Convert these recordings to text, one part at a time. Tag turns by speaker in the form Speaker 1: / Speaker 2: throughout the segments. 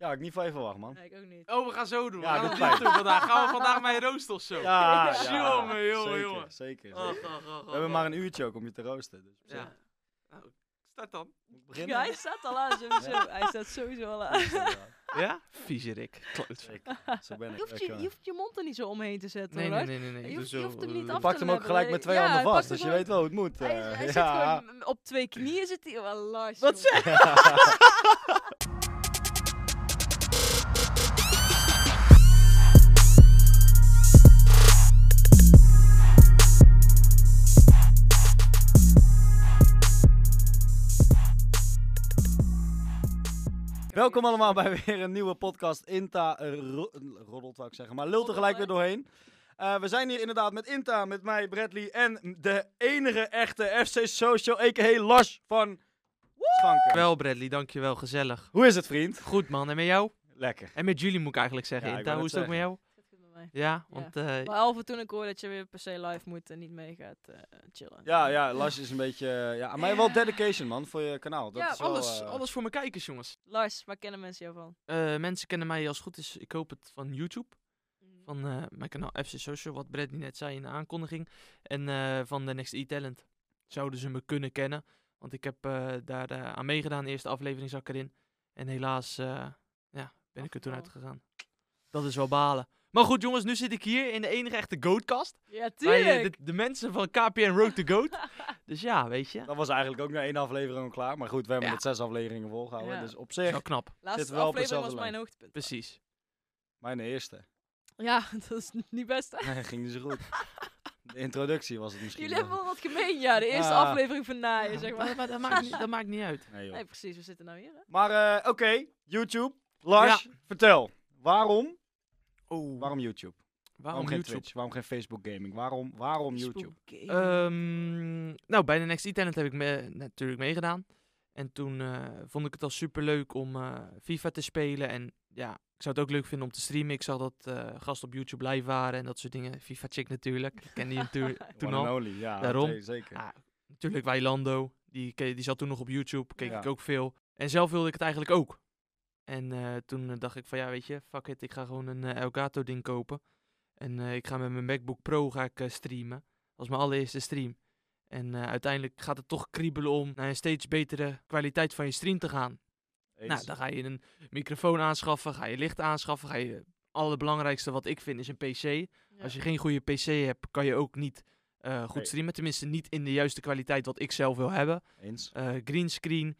Speaker 1: Ja, had ik niet van je verwacht, man.
Speaker 2: Nee, ik ook niet.
Speaker 3: Oh, we gaan zo doen.
Speaker 1: Ja,
Speaker 3: we
Speaker 1: doe
Speaker 3: gaan
Speaker 1: het
Speaker 3: dit doen vandaag. Gaan we vandaag mijn roost of zo?
Speaker 1: Ja, ja.
Speaker 3: Jongen, jongen,
Speaker 1: zeker,
Speaker 3: jongen.
Speaker 1: Zeker,
Speaker 3: Oh,
Speaker 1: zeker.
Speaker 3: oh, oh, oh,
Speaker 1: We hebben
Speaker 3: oh.
Speaker 1: maar een uurtje ook om je te roosten. Dus op zich
Speaker 3: Ja. Nou, start dan.
Speaker 1: moet ik
Speaker 2: Ja, hij
Speaker 1: beginnen.
Speaker 2: staat al aan sowieso.
Speaker 1: Ja.
Speaker 2: Hij staat sowieso al aan.
Speaker 3: Ja? Viezerik. Klootver.
Speaker 1: Zeker, Zo ben
Speaker 2: Je
Speaker 1: ik.
Speaker 2: hoeft
Speaker 1: echt
Speaker 2: je,
Speaker 1: waar.
Speaker 2: je hoeft je mond er niet zo omheen te zetten
Speaker 3: Nee,
Speaker 2: hoor.
Speaker 3: nee, nee, nee. nee.
Speaker 2: Je
Speaker 3: Ik
Speaker 2: hoeft-
Speaker 3: doe
Speaker 2: je
Speaker 3: zo,
Speaker 2: hoeft hem niet
Speaker 3: eh,
Speaker 2: af te
Speaker 1: Pakt hem ook
Speaker 2: hebben,
Speaker 1: gelijk
Speaker 2: weet
Speaker 1: met
Speaker 2: ik.
Speaker 1: twee
Speaker 2: Ja,
Speaker 1: handen
Speaker 2: hij pakt
Speaker 1: vast, dus
Speaker 2: hem
Speaker 1: je
Speaker 2: gewoon-
Speaker 1: weet wel hoe het moet.
Speaker 2: Hij,
Speaker 1: eh,
Speaker 2: hij zit
Speaker 1: ja.
Speaker 2: gewoon m- op twee knieën zit hij. Oh, Lars,
Speaker 1: Wat
Speaker 2: joh.
Speaker 1: Welkom allemaal bij weer een nieuwe podcast. Inta eh, ro- roddelt, wou ik zeggen, maar lult er gelijk weer doorheen. Eh, we zijn hier inderdaad met Inta, met mij, Bradley en de enige echte FC Social, a.k.a. Lars van Schanken.
Speaker 3: Wel, Bradley, dankjewel. Gezellig.
Speaker 1: Hoe is het, vriend?
Speaker 3: Goed, man. En met jou?
Speaker 1: Lekker.
Speaker 3: En met jullie moet ik eigenlijk zeggen.
Speaker 1: Ja, ik
Speaker 3: Inta,
Speaker 1: wou
Speaker 3: hoe
Speaker 1: net
Speaker 3: is het ook met jou?
Speaker 2: Zit goed met mij.
Speaker 3: Ja, want... eh,
Speaker 2: Behalve toen ik hoor dat je weer per se live moet en niet mee gaat eh, chillen.
Speaker 1: Ja, ja, Lars is een beetje, eh, ja, aan mij wel dedication, man, voor je kanaal. Dat
Speaker 2: Ja,
Speaker 1: is wel,
Speaker 3: alles,
Speaker 1: eh,
Speaker 3: alles voor mijn kijkers, jongens.
Speaker 2: Lars, waar kennen mensen jou van?
Speaker 3: Eh, mensen kennen mij als het goed is. Ik hoop het van YouTube.
Speaker 2: Mm.
Speaker 3: Van eh, mijn kanaal FC Social, wat Bradley net zei in de aankondiging. En eh, van de Next E-Talent. Zouden ze me kunnen kennen. Want ik heb eh, daar eh, aan meegedaan. De eerste aflevering zak erin. En helaas eh, ja, ben ik er toen
Speaker 2: Afgevallen.
Speaker 3: uitgegaan. Dat is wel balen. Maar goed jongens, nu zit ik hier in de enige echte Goatkast.
Speaker 2: Ja,
Speaker 3: Bij
Speaker 2: tuurlijk!
Speaker 3: eh, de, de mensen van KPN Road to Goat. dus ja, weet je.
Speaker 1: Dat was eigenlijk ook na één aflevering al klaar. Maar goed, we hebben
Speaker 3: Ja.
Speaker 1: het zes afleveringen volgehouden.
Speaker 2: Ja.
Speaker 1: Dus op
Speaker 3: Dat is
Speaker 1: zich,
Speaker 3: wel knap.
Speaker 2: Laatste
Speaker 1: zitten we wel op
Speaker 2: aflevering was
Speaker 1: hetzelfde
Speaker 2: mijn hoogtepunt.
Speaker 3: Precies.
Speaker 1: mijn eerste.
Speaker 2: Ja, dat is niet best hè?
Speaker 1: Nee, ging niet zo goed. De introductie was het misschien.
Speaker 2: Jullie hebben
Speaker 1: wel.
Speaker 2: wel wat gemeen, ja. De eerste
Speaker 1: Ah.
Speaker 2: aflevering van naaien,
Speaker 3: Ja,
Speaker 2: zeg
Speaker 3: maar
Speaker 2: maar.
Speaker 3: dat, maakt niet, dat maakt niet uit.
Speaker 1: Nee, joh.
Speaker 2: Nee, precies. We zitten nou hier hè?
Speaker 1: Maar eh, oké, YouTube. Lars, vertel. Waarom?
Speaker 3: Oh,
Speaker 1: Waarom YouTube?
Speaker 3: waarom
Speaker 1: geen
Speaker 3: YouTube?
Speaker 1: Twitch? Waarom geen Facebook gaming? Waarom, waarom YouTube?
Speaker 2: Spooky.
Speaker 3: Eh, Ehm, nou, bij de Next E-Talent heb ik me, natuurlijk meegedaan. En toen eh, vond ik het al superleuk om eh, FIFA te spelen. En ja, ik zou het ook leuk vinden om te streamen. Ik zag dat eh gasten op YouTube live waren en dat soort dingen. FIFA Chick natuurlijk. Ik ken die natuurlijk toen
Speaker 1: One and
Speaker 3: al.
Speaker 1: only, ja.
Speaker 3: Daarom.
Speaker 1: oké, zeker.
Speaker 3: Ah, natuurlijk Wailando. Die, ke- die zat toen nog op YouTube. Keek
Speaker 1: Ja.
Speaker 3: ik ook veel. En zelf wilde ik het eigenlijk ook. En eh, toen eh, dacht ik van ja, weet je, fuck it. Ik ga gewoon een eh, Elgato ding kopen. En eh, ik ga met mijn MacBook Pro ga ik, eh, streamen. Dat was mijn allereerste stream. En eh, uiteindelijk gaat het toch kriebelen om naar een steeds betere kwaliteit van je stream te gaan.
Speaker 1: Eens.
Speaker 3: Nou, dan ga je een microfoon aanschaffen, ga je licht aanschaffen, ga je... eh, Allerbelangrijkste wat ik vind is een PC.
Speaker 2: Ja.
Speaker 3: Als je geen goede PC hebt, kan je ook niet eh, goed
Speaker 1: Nee.
Speaker 3: streamen. Tenminste, niet in de juiste kwaliteit wat ik zelf wil hebben.
Speaker 1: Eens.
Speaker 3: Eh greenscreen.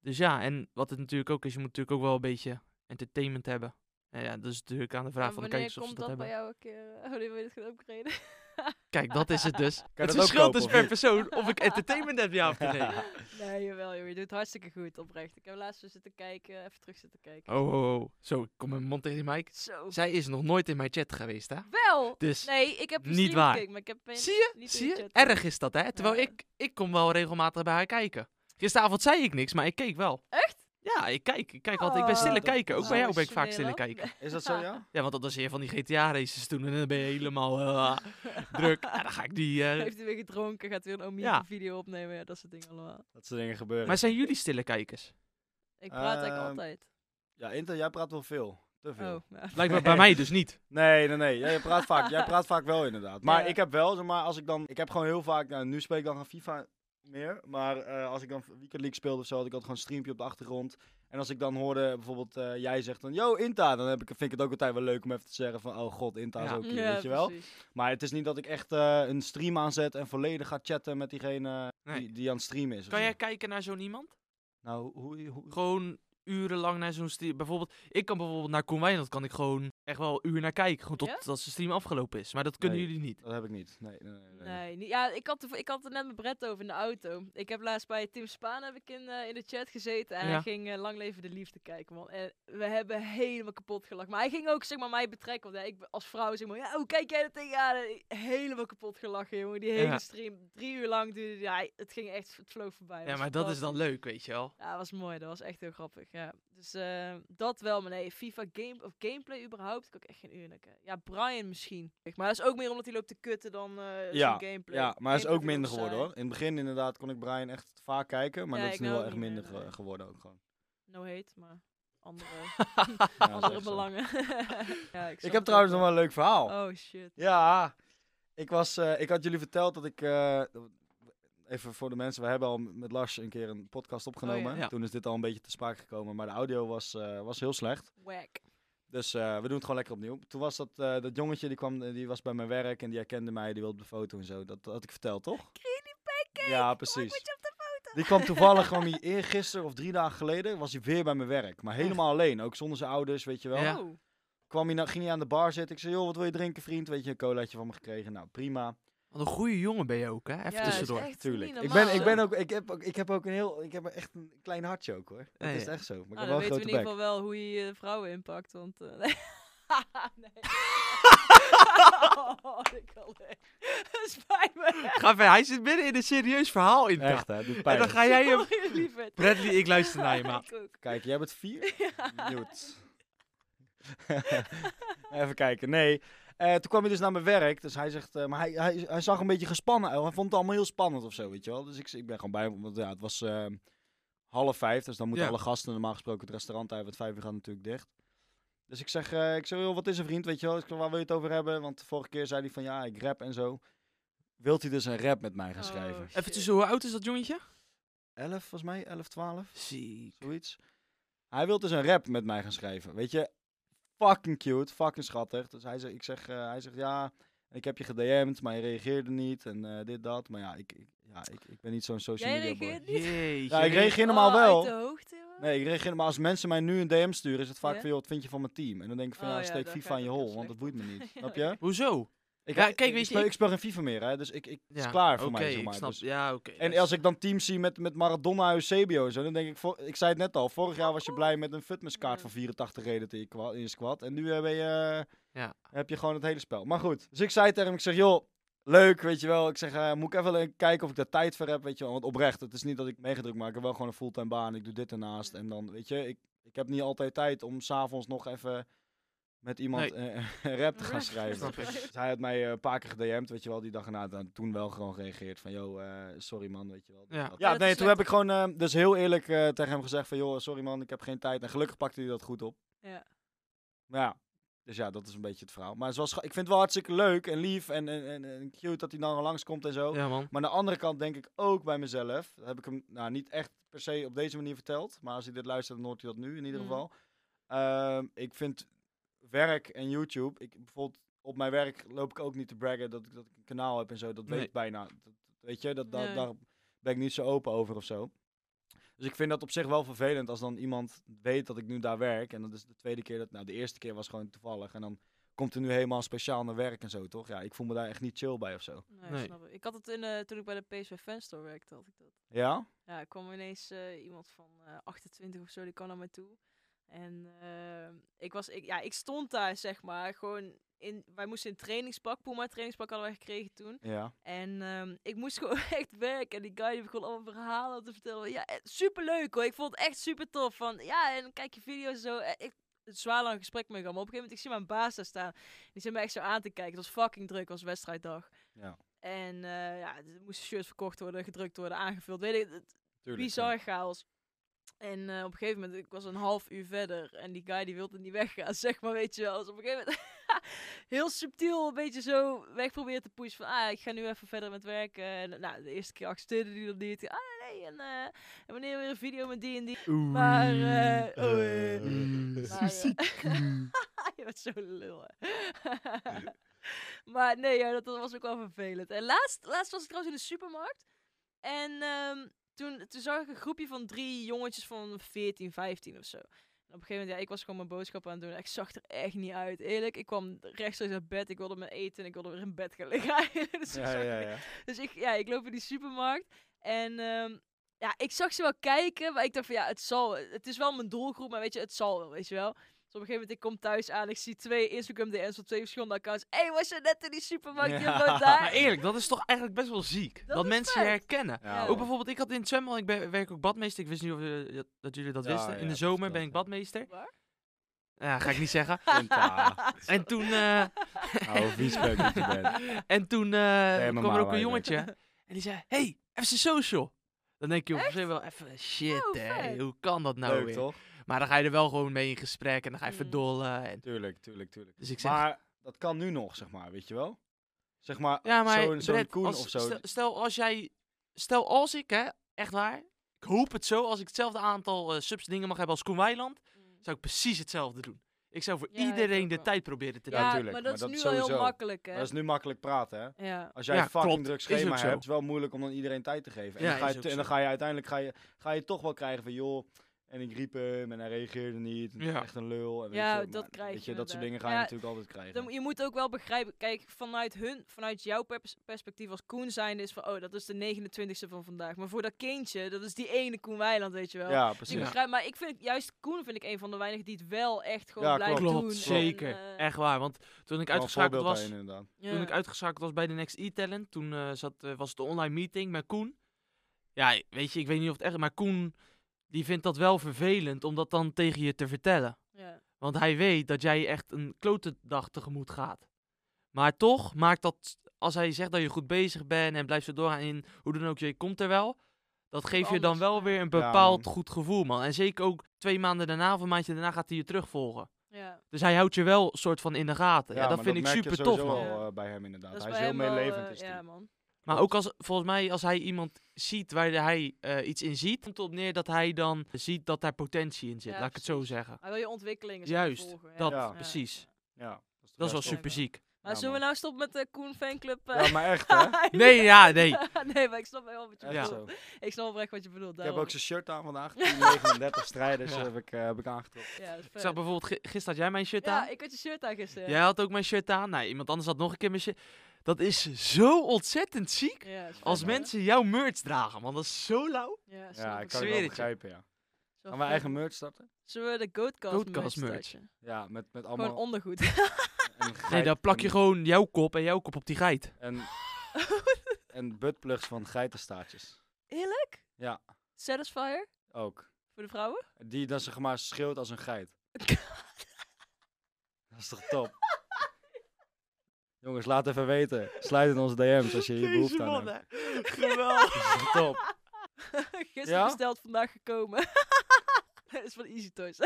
Speaker 3: Dus ja, en wat het natuurlijk ook is, je moet natuurlijk ook wel een beetje entertainment hebben. En ja, dat is natuurlijk aan de vraag
Speaker 2: En
Speaker 3: van de
Speaker 2: wanneer
Speaker 3: kijkers of ze
Speaker 2: komt dat
Speaker 3: dat hebben.
Speaker 2: bij jou een keer? eh, Oh, die wil je het gaan upgraden.
Speaker 3: Kijk, dat is het dus.
Speaker 1: dat
Speaker 3: het
Speaker 1: ook
Speaker 3: verschilt
Speaker 1: kopen,
Speaker 3: dus
Speaker 1: of
Speaker 3: per
Speaker 1: niet?
Speaker 3: persoon of ik entertainment heb, ja of nee.
Speaker 2: Nee, jawel, joh. Je doet het hartstikke goed, oprecht. Ik heb laatst weer zitten kijken, even terug zitten kijken.
Speaker 3: Oh, oh, oh. Zo, ik kom mijn mond tegen die mic.
Speaker 2: Zo.
Speaker 3: Zij is nog nooit in mijn chat geweest, hè?
Speaker 2: Wel!
Speaker 3: Dus,
Speaker 2: Nee, ik heb een
Speaker 3: Niet
Speaker 2: stream
Speaker 3: waar.
Speaker 2: gekeken, maar ik heb een-
Speaker 3: zie je?
Speaker 2: niet in
Speaker 3: Zie
Speaker 2: de
Speaker 3: je?
Speaker 2: chat.
Speaker 3: Erg is dat, hè? Terwijl
Speaker 2: Ja.
Speaker 3: ik, ik kom wel regelmatig bij haar kijken. Gisteravond zei ik niks, maar ik keek wel.
Speaker 2: Echt?
Speaker 3: Ja, ik kijk. Ik kijk altijd. Ik ben
Speaker 2: Oh,
Speaker 3: stille
Speaker 1: dat-
Speaker 3: kijken. Ook
Speaker 1: dat
Speaker 3: bij
Speaker 1: is
Speaker 3: jou ben ik vaak
Speaker 2: origineel,
Speaker 3: stille
Speaker 2: hè?
Speaker 3: kijken.
Speaker 1: Is dat zo, ja?
Speaker 3: Ja, want dat was weer van die GTA-races toen. En dan ben je helemaal eh, druk. Ja, dan ga ik die... eh,
Speaker 2: Heeft hij weer gedronken, gaat weer een
Speaker 3: Ja.
Speaker 2: Omieke-video opnemen. Ja, dat soort dingen allemaal.
Speaker 1: Dat soort dingen gebeuren.
Speaker 3: Maar zijn jullie stille kijkers?
Speaker 2: Ik praat eigenlijk
Speaker 1: Ehm,
Speaker 2: altijd.
Speaker 1: Ja, Inter, jij praat wel veel. Te veel.
Speaker 2: Oh, ja.
Speaker 3: Blijkbaar bij mij dus niet.
Speaker 1: Nee, nee, nee. Jij, jij praat vaak, jij praat vaak wel inderdaad. Maar
Speaker 2: Ja.
Speaker 1: ik heb wel, zeg maar, als ik dan... Ik heb gewoon heel vaak... nou, nu spreek ik dan geen FIFA meer. Maar eh, als ik dan Weekend League speelde of zo, had ik altijd gewoon een streampje op de achtergrond. En als ik dan hoorde, bijvoorbeeld, eh, jij zegt dan... Yo, Inta! Dan heb ik, vind ik het ook altijd wel leuk om even te zeggen van... Oh god, Inta is
Speaker 3: Ja.
Speaker 1: ook hier,
Speaker 2: Ja,
Speaker 1: weet je wel?
Speaker 2: precies.
Speaker 1: Maar het is niet dat ik echt eh, een stream aanzet en volledig ga chatten met diegene
Speaker 3: Nee.
Speaker 1: die, die aan het streamen is. of
Speaker 3: Kan
Speaker 1: zo.
Speaker 3: jij kijken naar zo'n iemand?
Speaker 1: Nou, hoe... hoe, hoe-
Speaker 3: Gewoon urenlang naar zo'n stream. Bijvoorbeeld, ik kan bijvoorbeeld naar Koen Wijnald kan ik gewoon echt wel een uur naar kijken. Gewoon
Speaker 2: Ja?
Speaker 3: totdat zijn stream afgelopen is. Maar dat kunnen
Speaker 1: Nee.
Speaker 3: jullie niet.
Speaker 1: Dat heb ik niet. Nee, nee, nee.
Speaker 3: eh,
Speaker 1: nee.
Speaker 2: Nee, niet- ja, ik had, er, ik had er net met Brett over in de auto. Ik heb laatst bij Tim Spaan heb ik in, eh, in de chat gezeten en
Speaker 3: Ja.
Speaker 2: hij ging eh, Lang Leven de Liefde kijken, man. En we hebben helemaal kapot gelachen. Maar hij ging ook, zeg maar, mij betrekken. Want ja, ik ben- als vrouw, zeg maar, ja, hoe kijk jij er tegenaan? En ik- Helemaal kapot gelachen, jongen. Die hele
Speaker 3: Ja.
Speaker 2: stream, drie uur lang duurde die. Ja, het ging echt, het vloog voorbij. Het
Speaker 3: Ja,
Speaker 2: was
Speaker 3: maar dat is dan
Speaker 2: fantastisch.
Speaker 3: leuk, weet je wel.
Speaker 2: Ja, dat was mooi. Dat was echt heel grappig, ja. Dus eh, dat wel, maar nee, FIFA game, of gameplay überhaupt, kan ik echt geen uur naar kijken. Ja, Brian misschien. Maar dat is ook meer omdat hij loopt te kutten dan eh
Speaker 1: Ja,
Speaker 2: zo'n gameplay.
Speaker 1: Ja, maar hij is ook
Speaker 2: Gameplay vind ik
Speaker 1: minder geworden
Speaker 2: saai.
Speaker 1: hoor. In het begin inderdaad kon ik Brian echt vaak kijken, maar
Speaker 2: Ja,
Speaker 1: dat is
Speaker 2: ik
Speaker 1: nu
Speaker 2: nou
Speaker 1: wel
Speaker 2: ook
Speaker 1: echt
Speaker 2: niet meer,
Speaker 1: minder ge-
Speaker 2: nee.
Speaker 1: geworden ook gewoon.
Speaker 2: No hate, maar... andere,
Speaker 1: Ja, dat is
Speaker 2: andere
Speaker 1: echt zo.
Speaker 2: belangen. ja,
Speaker 1: Ik
Speaker 2: snap
Speaker 1: heb
Speaker 2: het
Speaker 1: trouwens nog
Speaker 2: ook
Speaker 1: wel een leuk verhaal.
Speaker 2: wel. Oh shit.
Speaker 1: Ja, ik, was, eh, ik had jullie verteld dat ik. eh, even voor de mensen, we hebben al m- met Lars een keer een podcast opgenomen.
Speaker 2: Oh ja.
Speaker 3: Ja.
Speaker 1: Toen is dit al een beetje te sprake gekomen, maar de audio was, eh, was heel slecht.
Speaker 2: Wack.
Speaker 1: Dus eh, we doen het gewoon lekker opnieuw. Toen was dat, eh, dat jongetje, die, kwam, eh, die was bij mijn werk en die herkende mij, die wilde op de foto en zo. Dat had ik verteld, toch?
Speaker 2: Creamy pancake!
Speaker 1: Ja,
Speaker 2: Oh, ik
Speaker 1: precies.
Speaker 2: moet je op de foto.
Speaker 1: Die kwam toevallig, kwam hij eergisteren of drie dagen geleden, was hij weer bij mijn werk. Maar helemaal alleen, ook zonder zijn ouders, weet je wel.
Speaker 3: Ja.
Speaker 2: Oh,
Speaker 1: Kwam hij, nou- ging hij aan de bar zitten. Ik zei, joh, wat wil je drinken, vriend? Weet je, een colaatje van me gekregen. Nou, prima.
Speaker 3: Wat een goede jongen ben je ook, hè? Even
Speaker 2: ja,
Speaker 3: tussendoor.
Speaker 2: is echt
Speaker 1: Tuurlijk.
Speaker 2: niet
Speaker 1: Ik ben,
Speaker 2: normaal.
Speaker 1: ik ben ook, ik heb ook, ik heb ook een heel, ik heb echt een klein hartje ook hoor. Dat
Speaker 3: Ja,
Speaker 1: is
Speaker 3: ja.
Speaker 1: echt zo. Maar ik
Speaker 2: Nou,
Speaker 1: heb
Speaker 2: dan
Speaker 1: wel een
Speaker 2: weten we in
Speaker 1: grote
Speaker 2: ieder
Speaker 1: bek.
Speaker 2: geval wel hoe je eh, vrouwen inpakt, want... eh, nee. oh, ik wil Dat spijt me.
Speaker 3: Ga verder. Hij zit midden in een serieus verhaal in.
Speaker 1: Echt hè, doet
Speaker 3: en
Speaker 1: pijn.
Speaker 3: dan ga jij hem...
Speaker 2: Sorry, lieverd.
Speaker 3: Bradley, ik luister naar je, maat.
Speaker 2: Ik ook.
Speaker 1: Kijk, jij bent vier?
Speaker 2: Ja.
Speaker 1: Newt. Even kijken, nee. Eh, toen kwam hij dus naar mijn werk, dus hij zegt, eh, maar hij, hij, hij zag een beetje gespannen. uit. Hij vond het allemaal heel spannend of zo, weet je wel. Dus ik, ik ben gewoon bij hem, want ja, het was eh, half vijf, dus dan moeten
Speaker 3: Ja.
Speaker 1: alle gasten normaal gesproken het restaurant uit, want vijf uur gaat natuurlijk dicht. Dus ik zeg, eh, ik zeg, joh, wat is er vriend, weet je wel, ik zeg, waar wil je het over hebben? Want de vorige keer zei hij van, ja, ik rap en zo. Wilt hij dus een rap met mij gaan
Speaker 2: Oh,
Speaker 1: schrijven?
Speaker 3: Even tussen, hoe oud is dat jongetje?
Speaker 1: Elf, volgens mij, elf, twaalf.
Speaker 3: Ziek.
Speaker 1: Zoiets. Hij wil dus een rap met mij gaan schrijven. Weet je, fucking cute, fucking schattig. Dus hij zegt, ik zeg, eh, hij zegt ja, ik heb je gedm'd, maar je reageerde niet en eh, dit, dat. Maar ja, ik, ik- ja, ik, ik ben niet zo'n social
Speaker 2: Jij
Speaker 1: media boy.
Speaker 2: reageert niet?
Speaker 3: Jeetje.
Speaker 1: Ja, ik reageer normaal
Speaker 2: Oh,
Speaker 1: wel.
Speaker 2: Uit de hoogte, man.
Speaker 1: Nee, ik reageer, maar als mensen mij nu een DM sturen, is het vaak
Speaker 2: Ja?
Speaker 1: van, joh, wat vind je van mijn team? En dan denk ik van,
Speaker 2: Oh
Speaker 1: ja,
Speaker 2: ja,
Speaker 1: steek
Speaker 2: daar
Speaker 1: FIFA
Speaker 2: ga
Speaker 1: in
Speaker 2: ik
Speaker 1: je
Speaker 2: ook heel
Speaker 1: hol, want dat
Speaker 2: slecht
Speaker 1: boeit me
Speaker 2: op.
Speaker 1: niet.
Speaker 2: Ja,
Speaker 1: Snap je?
Speaker 3: Hoezo?
Speaker 1: Ik,
Speaker 3: Ja,
Speaker 1: ik,
Speaker 3: kijk, weet je,
Speaker 1: speel,
Speaker 3: ik-
Speaker 1: ik speel geen FIFA meer, hè, dus ik, ik, het is klaar voor mij, zeg maar.
Speaker 3: ik snap.
Speaker 1: Dus-
Speaker 3: Ja, oké.
Speaker 1: en
Speaker 3: dat
Speaker 1: als
Speaker 3: is-
Speaker 1: ik dan teams zie met, met Maradona, Eusebio en zo, dan denk ik, vo- ik zei het net al, vorig jaar was je blij met een fitnesskaart
Speaker 2: Ja.
Speaker 1: van 84 reden in je, kwa- in je squad. En nu eh, ben je,
Speaker 3: Ja.
Speaker 1: heb je gewoon het hele spel. Maar goed, dus ik zei tegen hem, ik zeg, joh, leuk, weet je wel. Ik zeg, eh, moet ik even le- kijken of ik daar tijd voor heb, weet je wel. Want oprecht, het is niet dat ik meegedrukt maak, ik heb wel gewoon een fulltime baan. Ik doe dit ernaast en dan, weet je, ik, ik heb niet altijd tijd om s'avonds nog even met iemand eh, een rap te gaan schrijven.
Speaker 3: Snap ik.
Speaker 1: Dus hij had mij eh, een paar keer gedM'd, weet je wel, die dag erna. Dan- Toen wel gewoon gereageerd van, yo, eh, sorry man, weet je wel.
Speaker 3: Ja.
Speaker 1: ja
Speaker 2: dat
Speaker 1: nee,
Speaker 2: is
Speaker 1: toen
Speaker 2: slecht.
Speaker 1: heb ik gewoon eh, dus heel eerlijk eh, tegen hem gezegd van, joh, sorry man, ik heb geen tijd. En gelukkig pakte hij dat goed op.
Speaker 2: Ja.
Speaker 1: Maar ja, dus ja, dat is een beetje het verhaal. Maar het was, ik vind het wel hartstikke leuk en lief en, en, en, en cute dat hij dan langskomt en zo.
Speaker 3: Ja, man.
Speaker 1: Maar aan de andere kant denk ik ook bij mezelf, dat heb ik hem nou niet echt per se op deze manier verteld, maar als hij dit luistert, dan hoort hij dat nu in ieder
Speaker 2: Mhm.
Speaker 1: geval. Ehm, ik vind werk en YouTube, ik, bijvoorbeeld op mijn werk loop ik ook niet te braggen dat ik, dat ik een kanaal heb en zo, dat weet
Speaker 3: Nee.
Speaker 1: ik bijna. Dat, weet je, dat, daar-
Speaker 2: Nee.
Speaker 1: daar ben ik niet zo open over of zo. Dus ik vind dat op zich wel vervelend als dan iemand weet dat ik nu daar werk. En dat is de tweede keer dat, nou de eerste keer was gewoon toevallig. En dan komt er nu helemaal speciaal naar werk en zo, toch? Ja, ik voel me daar echt niet chill bij of zo.
Speaker 2: Nee,
Speaker 3: Nee.
Speaker 2: Snap ik. ik had het in, eh, toen ik bij de PSV Fanstore werkte, had ik dat.
Speaker 1: Ja?
Speaker 2: Ja, er kwam ineens eh, iemand van eh, 28 of zo, die kwam naar me toe. En eh, ik, was, ik, ja, ik stond daar, zeg maar, gewoon... In, wij moesten in trainingspak, Puma trainingspak hadden wij gekregen toen.
Speaker 1: Ja.
Speaker 2: En ehm, ik moest gewoon echt werken. En die guy die begon allemaal verhalen te vertellen. Ja, eh, superleuk hoor. Ik vond het echt super tof. Van, ja, en dan kijk je video's en zo. Eh, Ik, het zwaar lang gesprek met hem. Maar op een gegeven moment, ik zie mijn baas daar staan. Die zit me echt zo aan te kijken. Het was fucking druk. Het was wedstrijddag.
Speaker 1: Ja.
Speaker 2: En eh, ja, er moesten shirts verkocht worden, gedrukt worden, aangevuld. Weet ik, het-
Speaker 1: Tuurlijk, ja.
Speaker 2: bizar chaos. En eh, op een gegeven moment, ik was een half uur verder en die guy die wilde niet weggaan, zeg maar, weet je wel. Dus op een gegeven moment heel subtiel een beetje zo weg proberen te pushen van, ah, ik ga nu even verder met werken. En, nou, de eerste keer accepteerde die dat niet. Ah, nee, en, eh, en wanneer weer een video met die en die. Maar, eh, oh, eh,
Speaker 3: Mm.
Speaker 2: maar, eh, je bent zo lul, hè. maar nee, ja, dat, dat was ook wel vervelend. En laatst, laatst was ik trouwens in de supermarkt. En ehm, toen, toen zag ik een groepje van drie jongetjes van 14, 15 of zo. En op een gegeven moment, ja, ik was gewoon mijn boodschappen aan het doen. Ik zag er echt niet uit. Eerlijk, ik kwam rechtstreeks uit bed. Ik wilde mijn eten en ik wilde weer in bed gaan liggen. eigenlijk. dus ik
Speaker 1: Ja,
Speaker 2: zag er
Speaker 1: ja, ja.
Speaker 2: dus ik, ja, ik loop in die supermarkt. En ehm, ja, ik zag ze wel kijken. Maar ik dacht van ja, het zal. Het is wel mijn doelgroep, maar weet je, het zal wel, weet je wel. Dus op een gegeven moment, ik kom thuis aan. Ik zie twee Instagram DM's op twee verschillende accounts. Hé, hey, was je net in die supermarkt? Je
Speaker 1: Ja.
Speaker 2: woont
Speaker 3: Maar
Speaker 2: daar.
Speaker 3: eerlijk, dat is toch eigenlijk best wel ziek. Dat,
Speaker 2: is
Speaker 3: mensen je
Speaker 2: vet.
Speaker 3: herkennen.
Speaker 2: Ja.
Speaker 3: Ook bijvoorbeeld, ik had in het zwembad, ik ben- werk ook badmeester. Ik wist niet of eh, dat- dat jullie dat
Speaker 1: Ja,
Speaker 3: wisten.
Speaker 1: ja,
Speaker 3: in de
Speaker 1: dat
Speaker 3: zomer
Speaker 1: klopt,
Speaker 3: ben ik
Speaker 1: ja.
Speaker 3: badmeester.
Speaker 2: Waar?
Speaker 3: Ja, ga ik niet zeggen.
Speaker 1: Pinta.
Speaker 3: En toen, eh,
Speaker 1: Oude viespeuk dat je bent.
Speaker 3: en toen eh,
Speaker 1: maar
Speaker 3: kwam er ook
Speaker 1: wij
Speaker 3: een
Speaker 1: weten.
Speaker 3: jongetje en die zei, hey, FC Social. Dan denk je op zich wel even, shit
Speaker 2: Oh,
Speaker 3: hé,
Speaker 2: vet.
Speaker 3: hoe kan dat nou
Speaker 1: Leuk
Speaker 3: weer?
Speaker 1: toch?
Speaker 3: Maar dan ga je er wel gewoon mee in gesprek en dan ga je
Speaker 2: Mm.
Speaker 3: verdollen. En,
Speaker 1: Tuurlijk, tuurlijk, tuurlijk.
Speaker 3: dus ik zeg,
Speaker 1: Maar dat kan nu nog, zeg maar, weet je wel? Zeg maar,
Speaker 3: ja, maar
Speaker 1: zo'n zo'n
Speaker 3: Brett,
Speaker 1: Koen
Speaker 3: als-
Speaker 1: of zo.
Speaker 3: Stel, stel als jij, stel als ik, hè, echt waar, ik hoop het zo, als ik hetzelfde aantal eh, subs dingen mag hebben als Koen Weiland, zou ik precies hetzelfde doen. Ik zou voor
Speaker 2: Ja, ik
Speaker 3: iedereen
Speaker 2: ook
Speaker 3: de
Speaker 2: wel.
Speaker 3: tijd proberen te
Speaker 1: Ja,
Speaker 3: nemen.
Speaker 2: Ja,
Speaker 1: tuurlijk,
Speaker 2: maar dat
Speaker 1: maar dat
Speaker 2: is nu wel
Speaker 1: sowieso.
Speaker 2: heel makkelijk, hè?
Speaker 1: Dat is nu makkelijk praten, hè?
Speaker 2: Ja.
Speaker 1: Als jij
Speaker 3: Ja,
Speaker 1: een fucking
Speaker 3: klopt.
Speaker 1: druk
Speaker 3: Is ook
Speaker 1: schema
Speaker 3: zo.
Speaker 1: hebt, is wel moeilijk om dan iedereen tijd te geven. En,
Speaker 3: Ja,
Speaker 1: dan, ga
Speaker 3: is
Speaker 1: je,
Speaker 3: ook
Speaker 1: en dan
Speaker 3: zo.
Speaker 1: ga je uiteindelijk ga je, ga je toch wel krijgen van, joh, en ik riep hem en hij reageerde niet. en
Speaker 3: Ja.
Speaker 1: Echt een lul. En weet
Speaker 2: Ja,
Speaker 1: je,
Speaker 2: dat
Speaker 1: maar,
Speaker 2: krijg
Speaker 1: weet
Speaker 2: je
Speaker 1: je. Dat soort
Speaker 2: inderdaad.
Speaker 1: dingen ga je
Speaker 2: Ja,
Speaker 1: natuurlijk altijd krijgen.
Speaker 2: Dan, je moet ook wel begrijpen, kijk, vanuit hun, vanuit jouw pers- perspectief als Koen zijnde is van, oh, dat is de 29e van vandaag. Maar voor dat kindje, dat is die ene Koen Weiland, weet je wel.
Speaker 1: ja,
Speaker 2: Dus ik
Speaker 1: precies.
Speaker 2: begrijp, maar ik vind het- juist Koen vind ik een van de weinigen die het wel echt gewoon
Speaker 1: Ja,
Speaker 2: blijft
Speaker 1: klopt.
Speaker 2: doen.
Speaker 3: Klopt,
Speaker 2: en,
Speaker 3: zeker.
Speaker 2: eh,
Speaker 3: Echt waar, want toen ik
Speaker 1: Wel een
Speaker 3: uitgeschakeld
Speaker 1: voorbeeld
Speaker 3: was,
Speaker 1: daarin, inderdaad.
Speaker 2: ja.
Speaker 3: toen ik uitgeschakeld was bij de Next E-Talent, toen eh, zat, eh, was het de online meeting met Koen. Ja, weet je, ik weet niet of het echt is, maar Koen, die vindt dat wel vervelend om dat dan tegen je te vertellen.
Speaker 2: ja.
Speaker 3: Want hij weet dat jij echt een klote dag tegemoet gaat. Maar toch maakt dat, als hij zegt dat je goed bezig bent en blijft zo doorgaan in hoe dan ook, je komt er wel. Dat geeft je dan
Speaker 2: anders,
Speaker 3: wel
Speaker 2: ja.
Speaker 3: weer een
Speaker 1: Ja,
Speaker 3: bepaald
Speaker 1: man.
Speaker 3: goed gevoel, man. En zeker ook twee maanden daarna of een maandje daarna gaat hij je terugvolgen.
Speaker 2: ja.
Speaker 3: Dus hij houdt je wel soort van in de gaten. Ja, dat
Speaker 1: maar
Speaker 3: vind ik
Speaker 1: merk je
Speaker 3: super tof,
Speaker 1: sowieso
Speaker 3: man.
Speaker 1: wel,
Speaker 2: Ja.
Speaker 1: eh, bij hem inderdaad.
Speaker 2: Dat is
Speaker 1: hij
Speaker 2: bij
Speaker 1: is heel
Speaker 2: hem wel,
Speaker 1: meelevend.
Speaker 2: eh,
Speaker 1: is die.
Speaker 2: ja, man.
Speaker 3: Maar ook als, volgens mij, als hij iemand ziet waar hij eh, iets in ziet, komt het op neer dat hij dan ziet dat daar potentie in zit.
Speaker 2: Ja,
Speaker 3: laat ik het zo
Speaker 2: precies.
Speaker 3: zeggen.
Speaker 2: Hij wil je ontwikkelingen zeg maar,
Speaker 3: Juist,
Speaker 2: volgen, ja.
Speaker 3: dat,
Speaker 1: Ja.
Speaker 3: precies.
Speaker 1: Ja, dat is, toch
Speaker 3: Dat is wel
Speaker 1: juist
Speaker 2: Ja,
Speaker 3: super ziek.
Speaker 2: Maar
Speaker 1: Ja,
Speaker 2: zullen we
Speaker 1: man.
Speaker 2: nou stoppen met de Koen fanclub?
Speaker 1: top.
Speaker 2: eh?
Speaker 1: Ja, maar echt, hè?
Speaker 3: Nee, ja, nee.
Speaker 2: nee, maar ik snap wel wat je
Speaker 1: Echt
Speaker 3: Ja.
Speaker 1: zo.
Speaker 2: bedoelt. Ik snap oprecht wat je bedoelt.
Speaker 1: Ik heb
Speaker 2: daarom.
Speaker 1: ook zijn shirt aan vandaag. 39 strijders
Speaker 3: Ja.
Speaker 1: heb, ik, eh, heb ik aangetrokken.
Speaker 2: Ja, dat is
Speaker 3: Ik
Speaker 2: vet.
Speaker 3: zag bijvoorbeeld, gi- gisteren had jij mijn shirt aan.
Speaker 2: Ja, ik had je shirt aan gisteren.
Speaker 3: Jij had ook mijn shirt aan. Nou, iemand anders had nog een keer mijn shirt. Dat is zo ontzettend ziek.
Speaker 2: Ja, dat is vet,
Speaker 3: Als
Speaker 2: hè?
Speaker 3: mensen jouw merch dragen, man. Dat is zo lauw.
Speaker 2: Ja,
Speaker 1: Ja, ik kan het
Speaker 3: Zweer
Speaker 1: wel
Speaker 3: het je.
Speaker 1: begrijpen, ja.
Speaker 2: Zo
Speaker 1: Gaan we
Speaker 2: vet.
Speaker 1: eigen merch starten?
Speaker 2: Zullen we de Goatcast,
Speaker 3: Goatcast merch.
Speaker 2: merch starten?
Speaker 1: Ja, met, met
Speaker 2: Gewoon
Speaker 1: allemaal...
Speaker 2: ondergoed.
Speaker 1: en geit-
Speaker 3: Nee, dan plak je
Speaker 1: en-
Speaker 3: gewoon jouw kop en jouw kop op die geit.
Speaker 1: En, en buttplugs van geitenstaartjes.
Speaker 2: Eerlijk?
Speaker 1: Ja.
Speaker 2: Satisfier?
Speaker 1: Ook.
Speaker 2: Voor de vrouwen?
Speaker 1: Die dan zeg maar schreeuwt als een geit. Dat is toch top? Jongens, laat even weten. Sluit in onze DM's als je hier behoefte aan hebt.
Speaker 3: Geweldig.
Speaker 1: Dat is toch top?
Speaker 2: Gisteren
Speaker 1: Ja?
Speaker 2: besteld, vandaag gekomen. Dat is van Easy Toys.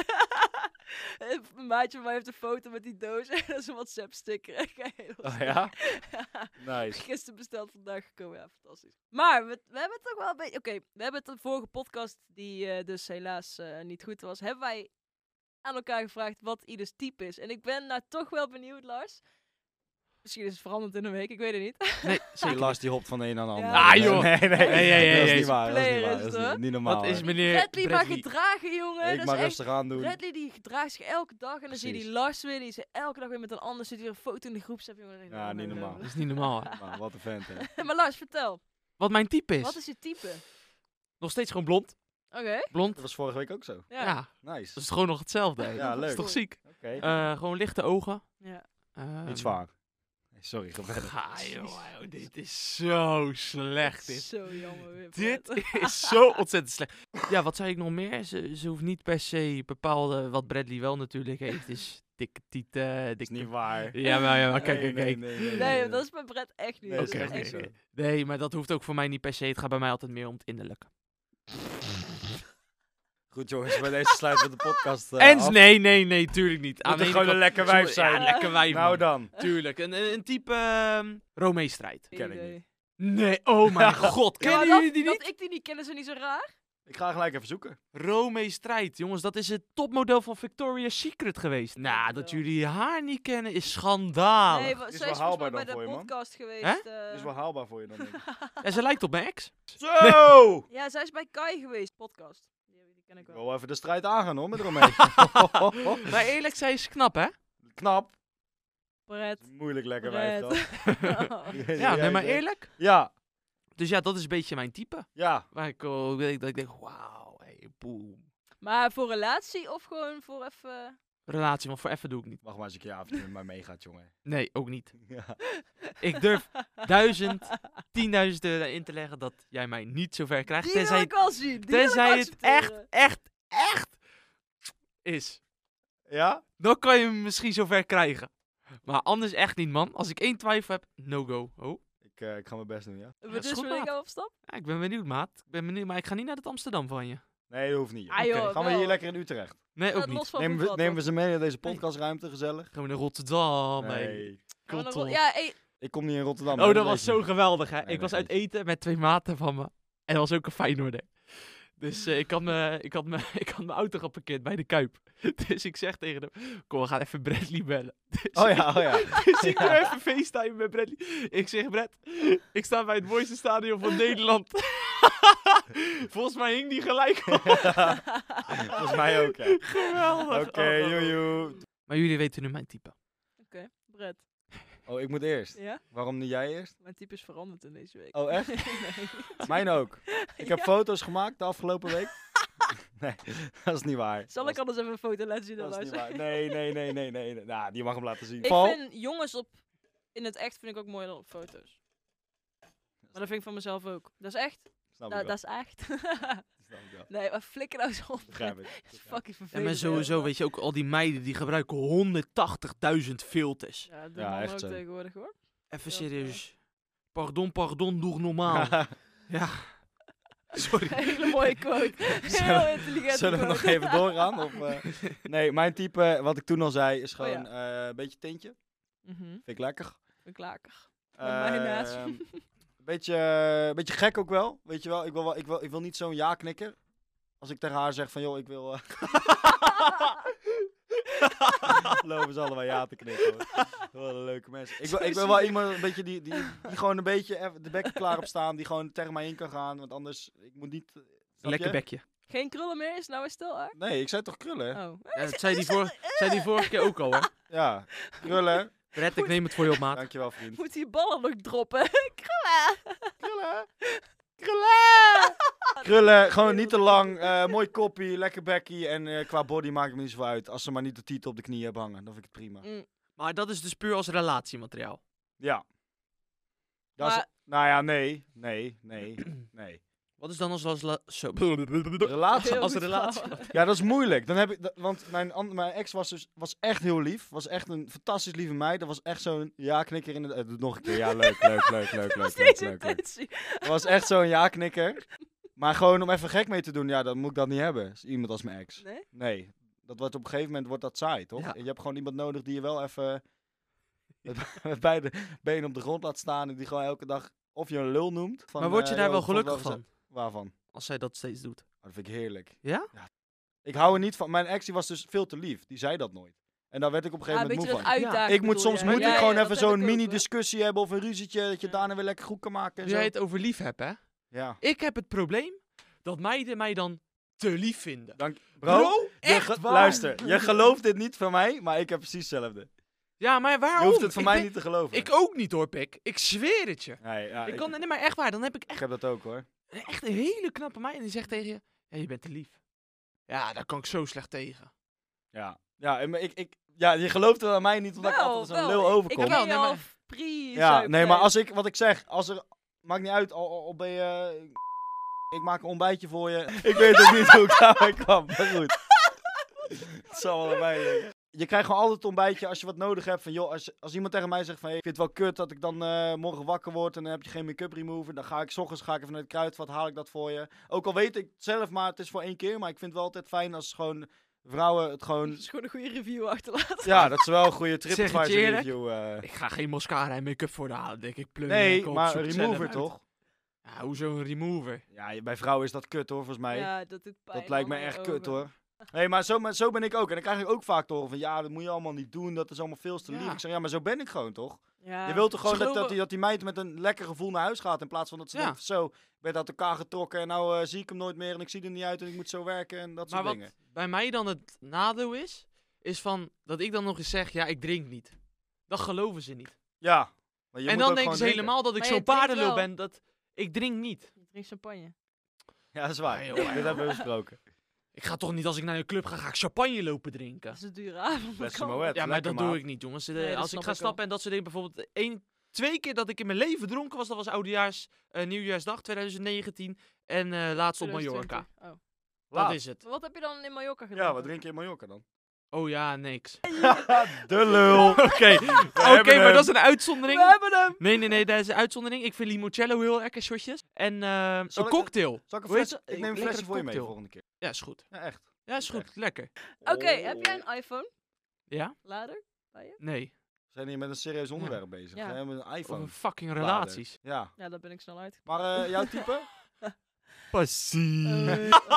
Speaker 2: een maatje van mij heeft een foto met die doos en dat is een WhatsApp sticker. En ik heel
Speaker 1: Oh
Speaker 2: stuk.
Speaker 1: ja? Nice.
Speaker 2: Gisteren besteld, vandaag gekomen. Ja, fantastisch. Maar we, we hebben het toch wel een beetje... Oké, we hebben het de vorige podcast, die eh, dus helaas eh, niet goed was, hebben wij aan elkaar gevraagd wat ieders type is. En ik ben nou toch wel benieuwd, Lars. Misschien is het veranderd in een week, ik weet het niet.
Speaker 3: Nee,
Speaker 1: Die
Speaker 3: zeker.
Speaker 1: Lars die hopt van de een aan de ander.
Speaker 2: Ah,
Speaker 1: Nee,
Speaker 3: joh.
Speaker 1: Nee, nee, nee.
Speaker 3: Nee, nee, nee,
Speaker 1: dat is
Speaker 3: nee.
Speaker 1: niet waar. Dat is niet
Speaker 2: Player
Speaker 1: waar.
Speaker 2: is
Speaker 1: Dat
Speaker 2: het,
Speaker 1: is
Speaker 2: hoor.
Speaker 1: niet, niet normaal.
Speaker 3: Wat is
Speaker 1: hè.
Speaker 3: meneer
Speaker 2: Bradley maar
Speaker 3: Bradley?
Speaker 2: gedragen, jongen.
Speaker 1: Ik
Speaker 2: dat
Speaker 1: maar
Speaker 2: is echt...
Speaker 1: rustig aan doen.
Speaker 2: Bradley die gedraagt zich elke dag en dan zie je die
Speaker 1: Precies.
Speaker 2: Lars weer, die is elke dag weer met een ander, zit weer een foto in de groep, jongen. Ik denk,
Speaker 1: Ja, niet
Speaker 2: oh, nee,
Speaker 1: normaal.
Speaker 3: Dat is niet normaal. hè.
Speaker 1: Maar wat een vent, hè.
Speaker 2: nee. maar Lars, vertel,
Speaker 3: Wat mijn type is.
Speaker 2: wat is je type?
Speaker 3: Nog steeds gewoon blond.
Speaker 2: Oké,
Speaker 3: Blond.
Speaker 1: Dat was vorige week ook zo.
Speaker 2: ja.
Speaker 3: Ja.
Speaker 2: ja.
Speaker 3: Dat
Speaker 1: Nice.
Speaker 3: is gewoon nog hetzelfde. hè.
Speaker 1: Ja,
Speaker 3: Dat is
Speaker 1: leuk.
Speaker 3: toch ziek?
Speaker 1: Oké.
Speaker 3: Eh, gewoon lichte ogen. Ehm,
Speaker 1: Niet zwaar. Nee, Sorry, ga verder.
Speaker 3: Ga joh, joh, dit is zo slecht. Dit
Speaker 2: Zo jammer weer. Brad.
Speaker 3: Dit is zo ontzettend slecht. Ja, wat zei ik nog meer? Ze, ze hoeft niet per se bepaalde... Wat Bradley wel natuurlijk heeft, is dikke tieten,
Speaker 1: Dat is
Speaker 3: dikke...
Speaker 1: niet waar.
Speaker 3: Ja, maar, ja, maar kijk,
Speaker 1: Nee,
Speaker 3: kijk, kijk.
Speaker 1: Nee,
Speaker 2: Nee, dat is bij Brett echt niet.
Speaker 1: Nee,
Speaker 2: Dat
Speaker 1: dat
Speaker 2: is
Speaker 1: is
Speaker 2: echt
Speaker 1: echt
Speaker 2: niet.
Speaker 1: zo.
Speaker 3: Nee, maar dat hoeft ook voor mij niet per se. Het gaat bij mij altijd meer om het innerlijke.
Speaker 1: Goed jongens, bij deze sluiten we de podcast eh,
Speaker 3: en
Speaker 1: af.
Speaker 3: nee, nee, nee, tuurlijk niet.
Speaker 1: Moet er
Speaker 3: de ene
Speaker 1: gewoon een
Speaker 3: kant-
Speaker 1: lekker
Speaker 3: Sorry,
Speaker 1: wijf zijn.
Speaker 3: Ja, lekker wijf,
Speaker 1: Nou
Speaker 3: man.
Speaker 1: dan.
Speaker 3: Tuurlijk, een, een, een type ehm Romee-strijd.
Speaker 1: Ken ik
Speaker 2: Idee.
Speaker 1: niet.
Speaker 3: Nee, oh mijn god.
Speaker 2: Ja, maar
Speaker 3: Kennen
Speaker 2: dat-
Speaker 3: jullie die niet?
Speaker 2: Dat ik die niet ken, is er niet zo raar.
Speaker 1: Ik ga gelijk even zoeken.
Speaker 3: Romee-strijd, jongens. Dat is het topmodel van Victoria's Secret geweest. Nou,
Speaker 2: Dankjewel.
Speaker 3: dat jullie haar niet kennen is schandalig.
Speaker 2: nee, wa- zij
Speaker 1: Is
Speaker 2: is
Speaker 1: wel
Speaker 2: volgens
Speaker 1: haalbaar
Speaker 2: mij bij
Speaker 1: dan
Speaker 2: de
Speaker 1: voor je, man.
Speaker 2: podcast geweest. eh.
Speaker 1: Dat is wel haalbaar voor je dan denk ik.
Speaker 3: Ja, ze lijkt op mijn ex.
Speaker 1: Zo!
Speaker 2: Ja, zij is bij Kai geweest, podcast. Die, die ken ik
Speaker 1: Ik
Speaker 2: wel.
Speaker 1: wil even de strijd aangaan hoor, met Romee.
Speaker 3: Maar eerlijk, zij is knap, hè?
Speaker 1: Knap.
Speaker 2: Brett.
Speaker 1: Moeilijk lekker wijf
Speaker 2: Brett.
Speaker 1: dan.
Speaker 3: Ja, nee, maar eerlijk.
Speaker 1: Ja,
Speaker 3: Dus ja, dat is een beetje mijn type.
Speaker 1: ja.
Speaker 3: Waar ik ook denk, dat ik denk, wauw, hey, boem.
Speaker 2: maar voor relatie of gewoon voor even...
Speaker 3: Relatie, want voor even doe ik niet.
Speaker 1: Wacht maar eens een keer af met mij meegaat jongen.
Speaker 3: Nee, ook niet.
Speaker 1: Ja.
Speaker 3: Ik durf duizend, tienduizenden euro in te leggen dat jij mij niet zover krijgt.
Speaker 2: Die wil
Speaker 3: tenzij
Speaker 2: ik wel zien. Die wil ik
Speaker 3: tenzij het echt,
Speaker 2: accepteren.
Speaker 3: echt, echt is.
Speaker 1: Ja?
Speaker 3: Dan kan je hem misschien zover krijgen. Maar anders echt niet, man. Als ik één twijfel heb, no go. Oh.
Speaker 1: Ik, eh, ik ga mijn best doen, ja.
Speaker 2: We
Speaker 3: dat is
Speaker 2: dus
Speaker 3: goed,
Speaker 2: wil ik
Speaker 3: maat.
Speaker 2: jou op stap?
Speaker 3: Ja, ik ben benieuwd, maat. Ik ben benieuwd, maar ik ga niet naar het Amsterdam van je.
Speaker 1: Nee, dat hoeft niet. joh.
Speaker 2: Ah, joh,
Speaker 1: Gaan we hier
Speaker 2: wel.
Speaker 1: lekker in Utrecht?
Speaker 3: Nee, ook
Speaker 2: Dat
Speaker 3: niet.
Speaker 2: los van
Speaker 1: Nemen we,
Speaker 2: voetbal,
Speaker 1: nemen we
Speaker 2: toch?
Speaker 1: ze mee naar deze podcastruimte, gezellig?
Speaker 3: Gaan we naar Rotterdam? Oh, Nee.
Speaker 1: Nee.
Speaker 2: Gaan we nog-
Speaker 3: Klopt.
Speaker 2: Ja, hey,
Speaker 1: Ik kom niet in Rotterdam.
Speaker 3: Oh,
Speaker 1: hè,
Speaker 3: dat was
Speaker 1: weet
Speaker 3: zo
Speaker 1: je.
Speaker 3: geweldig, hè.
Speaker 1: Nee,
Speaker 3: Ik was
Speaker 1: nee,
Speaker 3: uit eten met twee maten van me. En dat was ook een Feyenoorder. Dus eh, ik, had me, ik, had me, ik had mijn auto geparkeerd bij de Kuip. Dus ik zeg tegen hem, kom, we gaan even Bradley bellen. Dus
Speaker 1: Oh ja, oh ja.
Speaker 3: Dus ik doe even FaceTime met Bradley. Ik zeg, Brad, ik sta bij het mooiste stadion van Nederland. Volgens mij hing die gelijk op.
Speaker 1: Volgens mij ook, ja.
Speaker 3: Geweldig. Oh,
Speaker 1: Oké, joejoe.
Speaker 3: Maar jullie weten nu mijn type.
Speaker 2: Brett.
Speaker 1: Oh, ik moet eerst.
Speaker 2: Ja?
Speaker 1: Waarom niet jij eerst?
Speaker 2: Mijn type is veranderd in deze week.
Speaker 1: Oh, echt?
Speaker 2: nee.
Speaker 1: Mijn ook. Ik heb
Speaker 2: Ja.
Speaker 1: foto's gemaakt de afgelopen week. Nee, dat is niet waar.
Speaker 2: Zal
Speaker 1: Dat
Speaker 2: ik anders even een foto laten zien? aan
Speaker 1: Dat is niet
Speaker 2: luisteraar?
Speaker 1: waar. Nee, nee, nee, nee, nee. nee. Nou, die mag hem laten zien.
Speaker 2: Ik
Speaker 1: Paul?
Speaker 2: vind jongens op in het echt vind ik ook mooier dan op foto's. Maar dat vind ik van mezelf ook. Dat is echt.
Speaker 1: Snap ik wel.
Speaker 2: Da- Nou, dat is echt.
Speaker 1: Snap ik wel.
Speaker 2: nee, maar flikker nou eens op.
Speaker 1: Begrijp ik.
Speaker 2: Dat is
Speaker 1: Begrijp ik.
Speaker 2: fucking vervelend.
Speaker 3: Ja, maar sowieso, weet je, ook al die meiden die gebruiken 180.000 filters.
Speaker 2: Ja, dat
Speaker 1: Ja,
Speaker 2: doen mannen
Speaker 1: echt
Speaker 2: ook
Speaker 1: zo.
Speaker 2: tegenwoordig hoor.
Speaker 3: Even
Speaker 2: Ja,
Speaker 3: serieus. Pardon, pardon, doe normaal. Sorry.
Speaker 2: Hele mooie quote.
Speaker 1: Zullen
Speaker 2: Heel intelligent.
Speaker 1: Zullen we nog even doorgaan? Of, eh, Nee, mijn type, wat ik toen al zei, is
Speaker 2: Oh, ja.
Speaker 1: gewoon eh, een beetje tintje. Vind ik lekker.
Speaker 2: Mhm. Een klaker. Met mij naast.
Speaker 1: Ehm, een beetje, eh, een beetje gek ook wel, weet je wel. Ik wil, wel, ik wil, ik wil niet zo'n ja-knikker. Als ik tegen haar zeg van, joh, ik wil... eh, Lopen ze allemaal ja te knikken. hoor. Wat een leuke mensen. Ik, wil- ik ben wel iemand een beetje die, die, die gewoon een beetje even de bekken klaar op staan. Die gewoon tegen mij in kan gaan. Want anders, ik moet niet... eh, snap je?
Speaker 3: Lekker bekje.
Speaker 2: Geen krullen meer is nou weer stil, hè?
Speaker 1: Nee, ik zei toch krullen? hè?
Speaker 2: Oh.
Speaker 3: Ja, dat zei die, vor- zei die vorige keer ook al, hè.
Speaker 1: Ja, krullen.
Speaker 3: Brett, ik neem het voor je op maat.
Speaker 1: Dankjewel, vriend.
Speaker 2: Moet die ballen nog droppen? krullen!
Speaker 1: Krullen.
Speaker 2: Krullen!
Speaker 1: Krullen, gewoon niet te lang. eh, mooi koppie, lekker bekkie. En eh, qua body maakt het me niet zo uit. Als ze maar niet de titel op de knie hebben hangen, dan vind ik het prima.
Speaker 2: Mm,
Speaker 3: Maar dat is dus puur als relatiemateriaal.
Speaker 1: Ja. Dat is-
Speaker 2: Maar-
Speaker 1: nou ja, nee. Nee, nee, nee.
Speaker 3: Wat is dan als... als la- zo.
Speaker 1: Relatie.
Speaker 2: heel
Speaker 3: Als
Speaker 2: goed
Speaker 3: relatie.
Speaker 2: verhaal.
Speaker 1: Ja, dat is moeilijk. Dan heb ik, dat- want mijn, an- mijn ex was, dus, was echt heel lief. Was echt een fantastisch lieve meid. Dat was echt zo'n ja-knikker in de... eh, doe nog een keer. Ja, leuk, leuk, leuk, leuk,
Speaker 2: Dat was
Speaker 1: leuk, leuk,
Speaker 2: deze
Speaker 1: leuk, leuk.
Speaker 2: intentie.
Speaker 1: Dat was echt zo'n ja-knikker. Maar gewoon om even gek mee te doen, ja, dan moet ik dat niet hebben. Iemand als mijn ex.
Speaker 2: Nee?
Speaker 1: Nee, dat wordt op een gegeven moment wordt dat saai, toch?
Speaker 3: Ja.
Speaker 1: Je hebt gewoon iemand nodig die je wel even met- met beide benen op de grond laat staan en die gewoon elke dag of je een lul noemt. van,
Speaker 3: Maar word je
Speaker 1: eh,
Speaker 3: daar
Speaker 1: joh, ik
Speaker 3: wel
Speaker 1: vond het
Speaker 3: gelukkig van?
Speaker 1: gezellig. Waarvan?
Speaker 3: Als zij dat steeds doet.
Speaker 1: Oh, dat vind ik heerlijk.
Speaker 3: Ja?
Speaker 1: Ik hou er niet van. Mijn ex die was dus veel te lief. Die zei dat nooit. En daar werd ik op een
Speaker 2: Ah,
Speaker 1: gegeven
Speaker 2: een beetje
Speaker 1: moment moe
Speaker 2: dat
Speaker 1: van.
Speaker 3: Ja.
Speaker 1: Ik
Speaker 2: uitdagen
Speaker 1: moet
Speaker 2: bedoel
Speaker 1: soms
Speaker 2: jij.
Speaker 1: moet
Speaker 2: Ja,
Speaker 1: ik
Speaker 2: ja,
Speaker 1: gewoon
Speaker 2: dat
Speaker 1: even
Speaker 2: heb ik
Speaker 1: zo'n dus
Speaker 2: ook, hoor.
Speaker 1: mini-discussie hebben of een ruzietje. Dat je
Speaker 2: Ja.
Speaker 1: daarna weer lekker goed kan maken. En
Speaker 3: Nu jij
Speaker 1: zo.
Speaker 3: het over lief hebt, hè.
Speaker 1: Ja.
Speaker 3: Ik heb het probleem dat meiden mij dan te lief vinden.
Speaker 1: Dank.
Speaker 3: Bro,
Speaker 1: Bro, je
Speaker 3: echt
Speaker 1: ge-
Speaker 3: waar?
Speaker 1: luister, je gelooft dit niet van mij, maar ik heb precies hetzelfde.
Speaker 3: Ja, maar
Speaker 1: Je
Speaker 3: waarom?
Speaker 1: hoeft het van
Speaker 3: Ik
Speaker 1: mij
Speaker 3: ben-
Speaker 1: niet te geloven.
Speaker 3: Ik ook niet hoor, Pik. Ik zweer het je.
Speaker 1: Nee, ja,
Speaker 3: ik
Speaker 1: ik-
Speaker 3: kan, nee, maar echt waar. Dan heb ik
Speaker 1: ik
Speaker 3: echt,
Speaker 1: heb dat ook hoor.
Speaker 3: echt een hele knappe meid en die zegt tegen je... Ja, je bent te lief. Ja, daar kan ik zo slecht tegen.
Speaker 1: Ja, ja, en maar ik, ik, ja je gelooft wel aan mij niet omdat ik
Speaker 2: Wel,
Speaker 1: altijd zo'n
Speaker 2: wel,
Speaker 1: lul
Speaker 2: Ik
Speaker 1: overkom.
Speaker 2: heb
Speaker 3: Wel, nee,
Speaker 2: al
Speaker 3: maar-
Speaker 2: free
Speaker 1: ja,
Speaker 2: zuip,
Speaker 1: nee, maar als ik, wat ik zeg, als er, maakt niet uit, al, al, al ben je, eh, ik maak een ontbijtje voor je. Ik weet ook niet hoe ik daarbij kwam, maar goed. Het zal wel aan mij liggen. Je krijgt gewoon altijd een ontbijtje als je wat nodig hebt. Van, joh, als, als iemand tegen mij zegt van, hey, ik vind het wel kut dat ik dan eh, morgen wakker word en dan heb je geen make-up remover. Dan ga ik, 's ochtends ga ik even naar het kruidvat, haal ik dat voor je. Ook al weet ik het zelf, maar het is voor één keer. Maar ik vind het wel altijd fijn als gewoon vrouwen het gewoon
Speaker 2: Dus gewoon een goede review achterlaten.
Speaker 1: Ja, dat is wel een goede
Speaker 3: Zeg het je
Speaker 1: TripAdvisor
Speaker 3: eerlijk?
Speaker 1: review. eh.
Speaker 3: Ik ga geen mascara en make-up voor de halen, denk ik. Pleur
Speaker 1: Nee,
Speaker 3: ik op,
Speaker 1: maar
Speaker 3: zoek
Speaker 1: een
Speaker 3: het zelf
Speaker 1: remover
Speaker 3: uit.
Speaker 1: toch?
Speaker 3: Ja, hoezo een remover?
Speaker 1: Ja, je- bij vrouwen is dat kut hoor, volgens mij.
Speaker 2: Ja, dat doet pijn. Oh,
Speaker 1: dat lijkt me
Speaker 2: man,
Speaker 1: echt
Speaker 2: mijn
Speaker 1: kut
Speaker 2: ogen.
Speaker 1: hoor. Nee, maar zo, maar zo ben ik ook. En dan krijg ik ook vaak door van ja, dat moet je allemaal niet doen. Dat is allemaal veel te lief.
Speaker 3: Ja.
Speaker 1: Ik zeg ja, maar zo ben ik gewoon toch?
Speaker 2: Ja.
Speaker 1: je wilt toch gewoon
Speaker 3: Ze
Speaker 1: dat, dat,
Speaker 3: geloven-
Speaker 1: die, dat die meid met een lekker gevoel naar huis gaat. In plaats van dat ze
Speaker 3: Ja.
Speaker 1: denkt zo, ik ben uit elkaar getrokken. En nou eh, zie ik hem nooit meer en ik zie er niet uit en ik moet zo werken en dat
Speaker 3: Maar
Speaker 1: soort
Speaker 3: wat
Speaker 1: dingen.
Speaker 3: bij mij dan het nadeel is, is van dat ik dan nog eens zeg, ja, ik drink niet. Dat geloven ze niet.
Speaker 1: Ja. Maar je
Speaker 3: en
Speaker 1: moet
Speaker 3: dan
Speaker 1: ook
Speaker 3: denken ze
Speaker 1: gewoon drinken.
Speaker 3: helemaal dat ik
Speaker 2: Maar je
Speaker 3: zo'n
Speaker 2: drinkt
Speaker 3: paardenlul
Speaker 2: wel.
Speaker 3: ben, dat ik drink niet.
Speaker 2: Je drinkt champagne.
Speaker 1: Ja, dat is waar.
Speaker 3: Ah, joh,
Speaker 1: Dit hebben we besproken.
Speaker 3: Ik ga toch niet als ik naar een club ga, ga ik champagne lopen drinken.
Speaker 2: Dat is een dure avond.
Speaker 1: Best
Speaker 2: kan.
Speaker 1: wel wet.
Speaker 3: Ja, maar
Speaker 1: Lekker,
Speaker 3: dat doe
Speaker 1: maat.
Speaker 3: ik niet, jongens. De-
Speaker 2: Nee, dat
Speaker 3: als ik
Speaker 2: snap
Speaker 3: ga
Speaker 2: ik wel.
Speaker 3: stappen en dat soort dingen, bijvoorbeeld één, twee keer dat ik in mijn leven dronken was, dat was Oudejaars, eh, Nieuwjaarsdag 2019 en eh, laatst op
Speaker 2: 2020.
Speaker 3: Mallorca.
Speaker 2: Oh.
Speaker 3: Dat
Speaker 1: Laat.
Speaker 3: is het.
Speaker 2: Maar Wat Oh. heb je dan in Mallorca gedaan?
Speaker 1: Ja, wat drink je in Mallorca dan?
Speaker 3: Oh ja, niks.
Speaker 1: de lul. Oké,
Speaker 3: Oké, maar dat is een uitzondering.
Speaker 2: We hebben hem!
Speaker 3: Nee, nee, nee, dat is een uitzondering. Ik vind limoncello heel lekker, shotjes. En eh
Speaker 1: Zal
Speaker 3: een
Speaker 1: ik-
Speaker 3: cocktail.
Speaker 1: Zal ik een
Speaker 3: Hoe heet
Speaker 1: flesje?
Speaker 3: dat?
Speaker 1: Ik neem een
Speaker 3: Lekkere
Speaker 1: flesje voor je mee
Speaker 3: cocktail.
Speaker 1: volgende keer.
Speaker 3: Ja, is goed.
Speaker 1: Ja, echt.
Speaker 3: Ja, is goed. Lekker.
Speaker 2: Oké, heb
Speaker 1: Oh.
Speaker 2: jij een iPhone?
Speaker 3: Ja?
Speaker 2: Lader?
Speaker 3: Nee.
Speaker 1: We zijn hier met een serieus onderwerp bezig.
Speaker 2: Ja.
Speaker 1: We hebben een
Speaker 3: Over
Speaker 1: iPhone.
Speaker 3: fucking
Speaker 1: lader.
Speaker 3: relaties.
Speaker 1: Ja.
Speaker 2: Ja, dat ben ik snel uit.
Speaker 1: Maar eh, jouw type?
Speaker 3: Passie.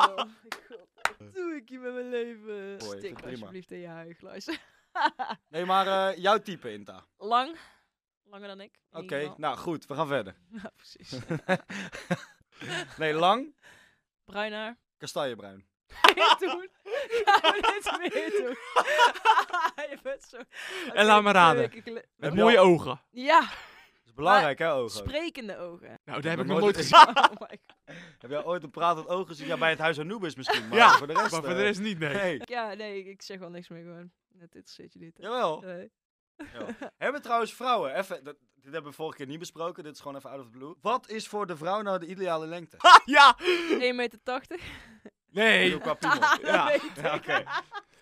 Speaker 2: Eh, oh, God, wat doe ik hier met mijn leven?
Speaker 1: Mooi, vind ik
Speaker 2: Stik me
Speaker 1: prima.
Speaker 2: alsjeblieft in je huigluis.
Speaker 1: Nee, maar eh, jouw type, Inta.
Speaker 2: Lang. Langer dan ik. in
Speaker 1: Oké,
Speaker 2: ieder geval.
Speaker 1: nou goed, we gaan verder.
Speaker 2: Ja, precies.
Speaker 1: Nee, lang,
Speaker 2: Bruin haar.
Speaker 1: kastanjebruin.
Speaker 2: Weer doen. Gaan we dit weer doen? je bent zo... Oké,
Speaker 3: laat me
Speaker 2: twee
Speaker 3: raden.
Speaker 2: weken gele-
Speaker 3: Met
Speaker 1: Heb je
Speaker 3: mooie
Speaker 1: al-
Speaker 3: ogen.
Speaker 2: Ja,
Speaker 1: Oh, Dat is belangrijk, hè, ogen?
Speaker 2: sprekende ogen.
Speaker 3: Nou, daar heb ik
Speaker 1: heb
Speaker 3: nog
Speaker 1: nooit
Speaker 3: nooit
Speaker 1: gezien.
Speaker 3: gezien.
Speaker 2: oh my God.
Speaker 1: Heb jij ooit een pratend oog gezien? Ja, bij het huis Anubis misschien, maar
Speaker 3: Ja,
Speaker 1: voor de rest...
Speaker 3: Maar voor
Speaker 1: eh,
Speaker 3: de rest niet, nee.
Speaker 1: Nee,
Speaker 2: Ja, nee, ik- ik zeg wel niks meer gewoon. Dit interesseert je niet. hè? Eh,
Speaker 1: jawel.
Speaker 2: Nee.
Speaker 1: Hebben trouwens vrouwen, even, dat, dit hebben we vorige keer niet besproken, dit is gewoon even out of the blue. Wat is voor de vrouw nou de ideale lengte?
Speaker 3: Ja!
Speaker 2: 1,80 meter. 80.
Speaker 1: Ik
Speaker 3: Nee.
Speaker 1: bedoel, qua piemel.
Speaker 3: Ja,
Speaker 1: ja, oké.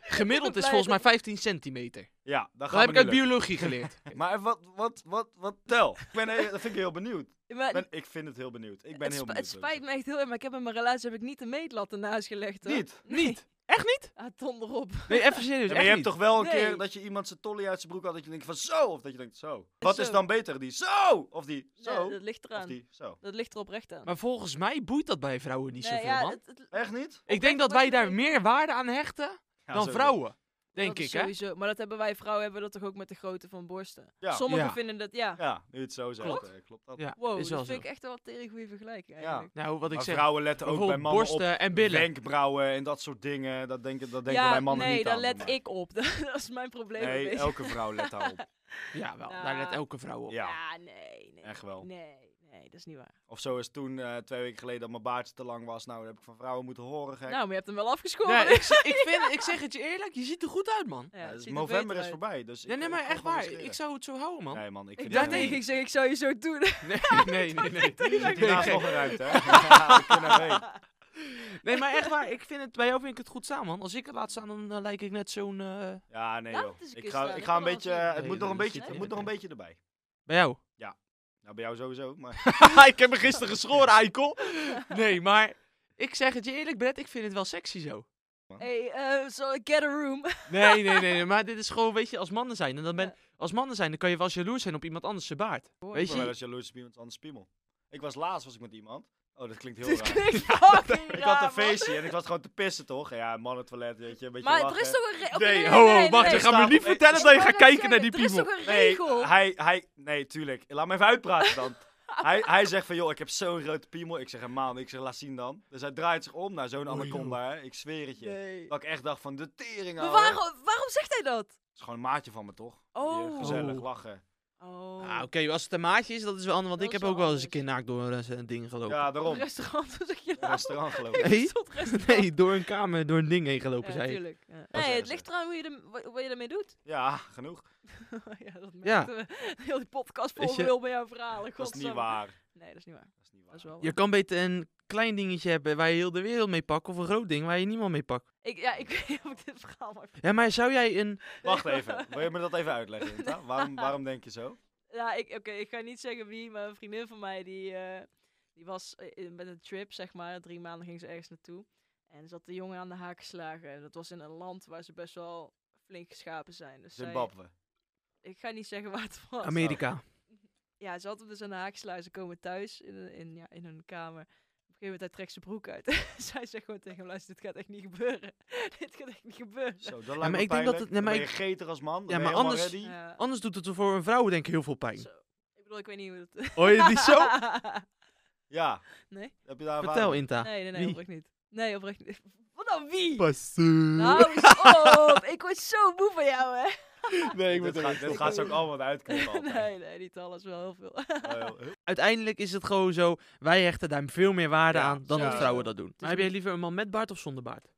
Speaker 3: Gemiddeld
Speaker 2: ben
Speaker 3: is
Speaker 2: blij
Speaker 3: volgens mij
Speaker 2: dat-
Speaker 3: 15 centimeter.
Speaker 1: Ja, dan
Speaker 3: Dat
Speaker 1: gaan
Speaker 3: heb
Speaker 1: we
Speaker 3: ik uit
Speaker 1: nu lukken.
Speaker 3: biologie geleerd.
Speaker 1: Maar even wat, wat, wat, wat, tel. Ik ben, heel- dat vind ik heel benieuwd.
Speaker 2: Maar
Speaker 1: Ik, ben, ik vind het heel benieuwd. Ik ben
Speaker 2: het,
Speaker 1: heel
Speaker 2: sp-
Speaker 1: benieuwd.
Speaker 2: het spijt me echt heel erg, maar ik heb in mijn relatie heb ik niet de meetlat ernaast gelegd. Hoor.
Speaker 1: Niet?
Speaker 2: Nee.
Speaker 3: Niet? Echt niet?
Speaker 2: Ah, donder op.
Speaker 3: Nee, even serieus.
Speaker 1: Ja,
Speaker 3: echt
Speaker 1: maar je hebt
Speaker 3: niet.
Speaker 1: toch wel een
Speaker 2: Nee.
Speaker 1: keer dat je iemand zijn tolly uit zijn broek had dat je denkt van zo, of dat je denkt zo. Wat is
Speaker 2: Zo.
Speaker 1: dan beter, die zo, of die zo,
Speaker 2: Nee, dat ligt
Speaker 1: of
Speaker 2: eraan.
Speaker 1: die zo.
Speaker 2: Dat ligt er oprecht aan.
Speaker 3: Maar volgens mij boeit dat bij vrouwen niet
Speaker 2: Nee,
Speaker 3: zoveel,
Speaker 2: ja,
Speaker 3: man.
Speaker 2: het- het-
Speaker 1: Echt niet?
Speaker 3: Ik denk dat
Speaker 2: wat
Speaker 3: wij
Speaker 2: je
Speaker 3: daar
Speaker 2: denkt.
Speaker 3: meer waarde aan hechten
Speaker 1: Ja,
Speaker 3: dan
Speaker 1: zo.
Speaker 3: vrouwen. Denk
Speaker 2: dat
Speaker 3: ik,
Speaker 2: is
Speaker 3: hè?
Speaker 2: sowieso. Maar dat hebben wij vrouwen hebben dat toch ook met de grootte van borsten.
Speaker 1: Ja.
Speaker 2: Sommigen
Speaker 3: Ja.
Speaker 2: vinden dat, ja.
Speaker 1: Ja, nu het zo zegt,
Speaker 3: Klopt.
Speaker 1: eh, klopt dat.
Speaker 3: Ja,
Speaker 2: Wow,
Speaker 3: is
Speaker 2: dat
Speaker 3: wel
Speaker 2: vind
Speaker 3: zo.
Speaker 2: ik echt wel een tering goede vergelijking eigenlijk.
Speaker 3: Nou, wat ik
Speaker 1: Maar
Speaker 3: zeg,
Speaker 1: vrouwen letten ook bij
Speaker 3: bijvoorbeeld
Speaker 1: mannen op
Speaker 3: borsten en billen.
Speaker 1: wenkbrauwen en dat soort dingen. Dat denken, dat denken wij mannen
Speaker 2: nee,
Speaker 1: niet
Speaker 2: daar
Speaker 1: aan.
Speaker 2: let
Speaker 1: maar-
Speaker 2: ik op. dat is mijn probleem. een
Speaker 1: Nee,
Speaker 2: beetje.
Speaker 1: elke vrouw let daarop.
Speaker 3: Ja, wel.
Speaker 2: Nou.
Speaker 3: Daar let elke vrouw op.
Speaker 1: Ja,
Speaker 2: Ja, nee, nee.
Speaker 1: echt wel.
Speaker 2: Nee, nee, dat is niet waar.
Speaker 1: Of zo is toen, eh, twee weken geleden, dat mijn baardje te lang was. Nou, dat heb ik van vrouwen moeten horen, gek.
Speaker 2: Nou, maar je hebt hem wel afgeschoren.
Speaker 3: Ja, ik, z- ik, vind, ik zeg het je eerlijk, je ziet er goed uit, man.
Speaker 1: Ja,
Speaker 2: het
Speaker 1: dus
Speaker 2: ziet er
Speaker 1: november
Speaker 2: beter
Speaker 1: is
Speaker 2: uit.
Speaker 1: voorbij, dus
Speaker 3: Nee, nee,
Speaker 1: ik-
Speaker 3: maar
Speaker 1: ik
Speaker 3: echt
Speaker 1: kan gewoon
Speaker 3: waar.
Speaker 1: scheren.
Speaker 3: Ik zou het zo houden, man.
Speaker 1: Nee man, ik
Speaker 2: Ik
Speaker 1: vind
Speaker 2: dacht
Speaker 1: het-
Speaker 2: tegen, ik zeg, ik zou je zo doen.
Speaker 3: Nee, nee, nee. nee.
Speaker 1: Er
Speaker 3: Nee,
Speaker 1: zit hiernaast
Speaker 3: nee.
Speaker 1: nog een ruimte, hè? Ja, ik ben er mee.
Speaker 3: Nee, maar echt waar. Ik vind het, bij jou vind ik het goed staan, man. Als ik het laat staan, dan eh, lijk ik net zo'n... eh,
Speaker 1: Ja, nee
Speaker 2: Laat
Speaker 1: joh.
Speaker 2: het eens een
Speaker 1: Ik
Speaker 2: keer
Speaker 1: ga,
Speaker 2: staan,
Speaker 1: ik
Speaker 2: ik
Speaker 1: ga een
Speaker 2: kan wel
Speaker 1: beetje,
Speaker 2: zien.
Speaker 1: eh, het
Speaker 3: Nee,
Speaker 1: moet nog een
Speaker 3: dat
Speaker 1: beetje,
Speaker 3: ziet
Speaker 1: het
Speaker 3: er
Speaker 1: moet nog een
Speaker 3: niet
Speaker 1: beetje erbij.
Speaker 3: Bij jou?
Speaker 1: Nou, bij jou sowieso, maar
Speaker 3: ik heb me gisteren geschoren, eikel. Nee, maar ik zeg het je eerlijk, Brett. Ik vind het wel sexy zo.
Speaker 2: Hey, eh, so get a room.
Speaker 3: Nee, nee, nee, nee. Maar dit is gewoon, weet je, als mannen zijn. En dan ben, als mannen zijn, dan kan je wel eens jaloers zijn op iemand anders zijn baard. Weet
Speaker 1: ik ben wel
Speaker 3: je?
Speaker 1: eens jaloers op iemand anders piemel. Ik was laatst was ik met iemand. Oh, dat klinkt heel
Speaker 2: Dit
Speaker 1: raar.
Speaker 2: klinkt fucking
Speaker 1: Ik had
Speaker 2: raar,
Speaker 1: een
Speaker 2: man.
Speaker 1: feestje en ik was gewoon te pissen, toch? Ja, mannentoilet, weet je, een beetje
Speaker 2: Maar
Speaker 1: lachen.
Speaker 2: er is toch een regel?
Speaker 3: Nee, ho, ho, Oh, wacht.
Speaker 1: nee.
Speaker 3: Je gaat me niet
Speaker 1: Ik
Speaker 3: vertellen dat je gaat kijken naar die
Speaker 2: Er is
Speaker 3: piemel.
Speaker 2: toch een
Speaker 1: Nee,
Speaker 2: regel?
Speaker 1: hij, hij, nee, tuurlijk. Laat me even uitpraten dan. hij, hij zegt van, joh, ik heb zo'n grote piemel. Ik zeg, helemaal niet. Ik zeg, laat zien dan. Dus hij draait zich om naar zo'n
Speaker 3: Oei,
Speaker 1: anaconda, hè. Ik zweer het je.
Speaker 2: Nee.
Speaker 1: Dat ik echt dacht van, de tering,
Speaker 2: Maar
Speaker 1: ouwe.
Speaker 2: waarom, waarom zegt hij dat?
Speaker 1: is gewoon een maatje van me, toch?
Speaker 2: Oh.
Speaker 1: Hier, gezellig,
Speaker 3: Oh.
Speaker 1: lachen.
Speaker 2: Oh.
Speaker 3: Ah, Oké, als het een maatje is, dat is wel anders.
Speaker 2: Dat
Speaker 3: Want ik
Speaker 2: is
Speaker 3: heb
Speaker 2: wel
Speaker 3: ook wel eens een keer
Speaker 2: anders.
Speaker 3: naakt door een eh, ding gelopen.
Speaker 1: Ja,
Speaker 2: Een
Speaker 1: daarom.
Speaker 2: restaurant, hoe zeg je dat?
Speaker 1: Restaurant geloof ik.
Speaker 3: Nee.
Speaker 2: Ik stond restaurant.
Speaker 3: Nee, door een kamer, door een ding heen
Speaker 2: Ja,
Speaker 3: gelopen, zei ik.
Speaker 2: tuurlijk, ja.
Speaker 1: zeggen
Speaker 2: Nee, het
Speaker 1: ze.
Speaker 2: ligt eraan hoe je, er, wa- wat je ermee doet.
Speaker 1: Ja, genoeg.
Speaker 2: ja, dat
Speaker 3: Ja.
Speaker 2: merkte we. Heel die podcast
Speaker 3: Weet
Speaker 2: vol
Speaker 3: je-
Speaker 2: wil bij jouw verhalen.
Speaker 1: Dat is niet
Speaker 2: godsamme.
Speaker 1: waar.
Speaker 2: Nee, dat is niet waar.
Speaker 1: Dat is niet
Speaker 2: Dat
Speaker 1: waar.
Speaker 2: is wel
Speaker 3: Je
Speaker 2: waar.
Speaker 3: kan beter een klein dingetje hebben waar je heel de wereld mee pakt. Of een groot ding waar je niemand mee pakt.
Speaker 2: Ik, ja, ik weet niet of ik dit verhaal mag
Speaker 3: Ja, maar zou jij
Speaker 2: Oh,
Speaker 3: een...
Speaker 1: Wacht even, wil je me dat even uitleggen? Inta? Waarom, waarom denk je zo?
Speaker 2: Ja, ik, oké, ik ga niet zeggen wie, maar een vriendin van mij die, eh, die was eh, in- met een trip, zeg maar. Drie maanden ging ze ergens naartoe. En ze had de jongen aan de haak geslagen. En dat was in een land waar ze best wel flink geschapen zijn. Dus zij-
Speaker 1: Zimbabwe.
Speaker 2: ik ga niet zeggen waar het was.
Speaker 3: Amerika.
Speaker 2: Ja, ze had hem dus aan de haak geslagen. Ze komen thuis in, een- in, ja, in hun kamer. Op een gegeven moment hij trekt zijn broek uit. Zij zegt gewoon tegen hem, luister, dit gaat echt niet gebeuren. dit gaat echt niet gebeuren.
Speaker 1: Zo, dat lijkt me
Speaker 3: maar ik denk dat
Speaker 1: pijnlijk.
Speaker 3: het- nee,
Speaker 1: Dan
Speaker 3: maar
Speaker 1: ben je
Speaker 3: ik-
Speaker 1: geter als man, dan
Speaker 3: Ja,
Speaker 1: ben
Speaker 3: maar
Speaker 1: je helemaal
Speaker 3: anders-
Speaker 1: ready.
Speaker 2: Ja,
Speaker 3: Anders doet het er voor een vrouw denk ik heel veel pijn.
Speaker 2: zo. Ik bedoel, ik weet niet hoe dat...
Speaker 3: Hoor je die zo?
Speaker 1: Ja.
Speaker 2: Nee?
Speaker 1: Heb je daar
Speaker 3: Vertel,
Speaker 1: ervaring?
Speaker 3: Inta.
Speaker 2: Nee, nee, nee,
Speaker 3: Wie?
Speaker 2: oprecht niet. Nee, oprecht niet. Wat dan wie?
Speaker 3: Passie.
Speaker 2: Nou, eens op. Ik word zo moe van jou, hè.
Speaker 3: nee,
Speaker 1: Dit gaat, dit gaat ze ook allemaal wat uitknippen. altijd.
Speaker 2: Nee, nee, niet alles, wel heel veel.
Speaker 1: Oh, joh.
Speaker 3: Uiteindelijk is het gewoon zo, wij hechten daar veel meer waarde
Speaker 1: Ja,
Speaker 3: aan dan dat
Speaker 1: ja.
Speaker 3: vrouwen dat doen.
Speaker 2: is
Speaker 3: Maar heb jij
Speaker 2: niet-
Speaker 3: liever een man met baard of zonder baard?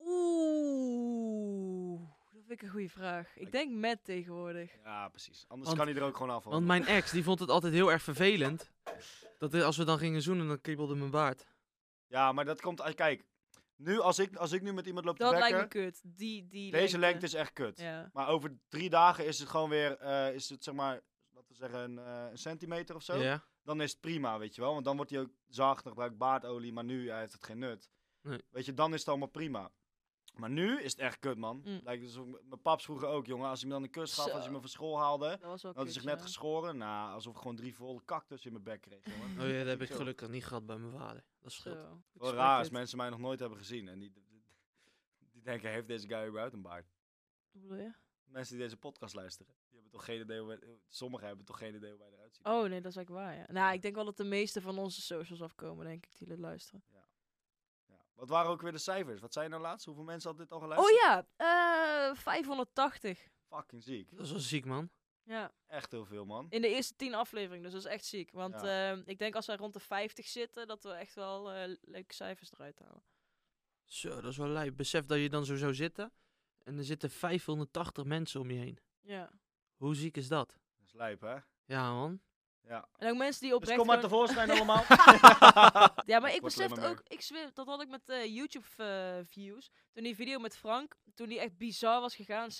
Speaker 2: Oeh, dat vind ik een goede vraag. Ik denk met tegenwoordig.
Speaker 1: Ja, precies. Anders
Speaker 3: Want-
Speaker 1: kan hij er ook gewoon af.
Speaker 3: Want mijn ex, die vond het altijd heel erg eh, vervelend. Dat er- als we dan gingen zoenen, dan kriebelde mijn baard.
Speaker 1: Ja, maar dat komt... Kijk, Nu, als ik, als ik nu met iemand loop
Speaker 2: Dat
Speaker 1: te
Speaker 2: lijkt me
Speaker 1: bekken,
Speaker 2: kut. Die, die
Speaker 1: deze lengte is echt kut.
Speaker 2: Ja.
Speaker 1: Maar over drie dagen is het gewoon weer, eh, is het zeg maar, laten we zeggen, een, eh, een centimeter of zo.
Speaker 3: Ja.
Speaker 1: Dan is het prima, weet je wel. Want dan wordt hij ook zacht, dan gebruikt baardolie, maar nu hij heeft het geen nut.
Speaker 3: Nee.
Speaker 1: Weet je, dan is het allemaal prima. Maar nu is het echt kut, man.
Speaker 2: Mm.
Speaker 1: Lijkt alsof m- mijn paps vroeger ook, jongen. Als hij me dan een kus gaf, als hij
Speaker 2: Zo.
Speaker 1: me van school haalde,
Speaker 2: Dat was wel
Speaker 1: dan had
Speaker 2: kut,
Speaker 1: hij zich net
Speaker 2: ja.
Speaker 1: geschoren. Nou, alsof ik gewoon drie volle cactus in mijn bek kreeg, jongen.
Speaker 3: Oh ja, dat heb ik
Speaker 1: Zo.
Speaker 3: gelukkig niet gehad bij mijn vader. Dat scheelt.
Speaker 2: Zo. Ik
Speaker 1: Wel
Speaker 2: snap
Speaker 1: raar als
Speaker 2: het.
Speaker 1: mensen mij nog nooit hebben gezien. En die, die denken, heeft deze guy überhaupt een baard?
Speaker 2: Wat bedoel je?
Speaker 1: Mensen die deze podcast luisteren, die hebben toch geen idee hoe wij, sommigen hebben toch geen idee hoe wij eruit zien.
Speaker 2: Oh nee, dat is eigenlijk waar. Ja. Nou, ik denk wel dat de meeste van onze socials afkomen, denk ik, die dit luisteren.
Speaker 1: Ja. Wat waren ook weer de cijfers? Wat zijn nou laatst? Hoeveel mensen hadden dit al
Speaker 2: Oh
Speaker 1: geluisterd?
Speaker 2: ja, eh, 580.
Speaker 1: Fucking ziek.
Speaker 3: Dat is wel ziek, man.
Speaker 2: Ja,
Speaker 1: Echt heel veel, man.
Speaker 2: in de eerste 10 afleveringen, dus dat is echt ziek. Want eh, ik denk als wij rond de 50 zitten, dat we echt wel eh, leuke cijfers eruit halen.
Speaker 3: Zo, dat is wel lijp. Besef dat je dan zo zou zitten en er zitten 580 mensen om je heen.
Speaker 2: Ja.
Speaker 3: Hoe ziek is dat?
Speaker 1: Dat is lijp, hè?
Speaker 3: Ja, man.
Speaker 1: Ja.
Speaker 2: En ook mensen die
Speaker 1: Dus
Speaker 2: oprecht...
Speaker 1: kom maar
Speaker 2: gewoon-
Speaker 1: tevoorschijn allemaal.
Speaker 2: Ja, maar ik
Speaker 1: Wordt alleen
Speaker 2: besef
Speaker 1: maar
Speaker 2: ook, ik zweer, dat had ik met eh, YouTube eh, views. Toen die video met Frank, toen die echt bizar was gegaan, 60.000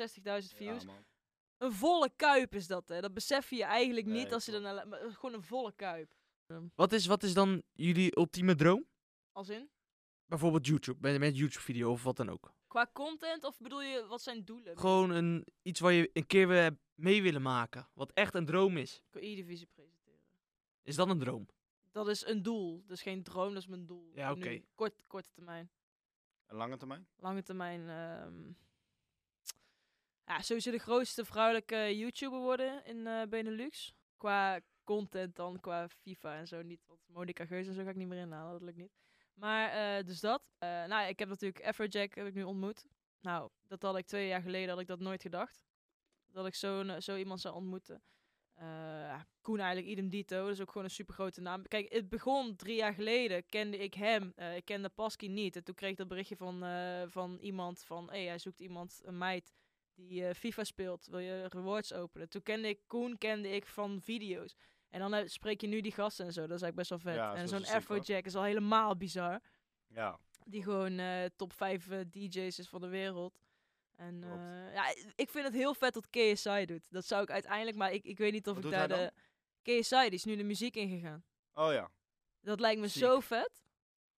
Speaker 2: views.
Speaker 1: Ja, man.
Speaker 2: Een volle kuip is dat, hè. Dat besef je eigenlijk
Speaker 1: Nee,
Speaker 2: niet als je
Speaker 1: klopt.
Speaker 2: daarna... maar, eh, Gewoon een volle kuip.
Speaker 3: Wat is, wat is dan jullie ultieme droom?
Speaker 2: Als in?
Speaker 3: Bijvoorbeeld YouTube, bij- met YouTube-video of wat dan ook.
Speaker 2: Qua content, of bedoel je, wat zijn doelen?
Speaker 3: Gewoon een, iets waar je een keer weer hebt mee willen maken. Wat echt een droom is.
Speaker 2: Ik wil E-divisie presenteren.
Speaker 3: Is dat een droom?
Speaker 2: Dat is een doel. Dus geen droom, dat is mijn doel.
Speaker 3: Ja,
Speaker 2: Nu,
Speaker 3: oké.
Speaker 2: Kort, korte termijn.
Speaker 1: En lange termijn?
Speaker 2: Lange termijn. ehm, ja, sowieso de grootste vrouwelijke YouTuber worden in eh, Benelux. Qua content dan, qua FIFA en zo niet. Want Monica Geus en zo ga ik niet meer inhalen, dat lukt niet. Maar eh, dus dat. Eh, nou, ik heb natuurlijk Afrojack heb ik nu ontmoet. Nou, dat had ik twee jaar geleden had ik dat nooit gedacht. Dat ik zo'n eh, zo iemand zou ontmoeten. Eh, ja, Koen eigenlijk, idem dito. Dat is ook gewoon een supergrote naam. Kijk, het begon drie jaar geleden. Kende ik hem. eh, ik kende Paski niet. En toen kreeg ik dat berichtje van, eh, van iemand van... Hé, hey, hij zoekt iemand, een meid die eh, FIFA speelt. Wil je rewards openen? Toen kende ik Koen kende ik van video's. En dan eh, spreek je nu die gasten en zo. Dat is eigenlijk best wel vet.
Speaker 1: Ja, dat
Speaker 2: en
Speaker 1: is
Speaker 2: zo'n
Speaker 1: wel zo sick, hoor.
Speaker 2: Afrojack is al helemaal bizar.
Speaker 1: Ja.
Speaker 2: Die gewoon eh, top 5 eh, DJ's is van de wereld. En
Speaker 1: Klopt.
Speaker 2: eh, ja, i- ik vind het heel vet dat KSI doet. Dat zou ik uiteindelijk, maar ik, ik weet niet of
Speaker 1: Wat
Speaker 2: ik
Speaker 1: doet hij
Speaker 2: daar de. KSI, die is nu de muziek ingegaan.
Speaker 1: Oh ja.
Speaker 2: Dat lijkt me
Speaker 3: Ziek.
Speaker 2: zo vet.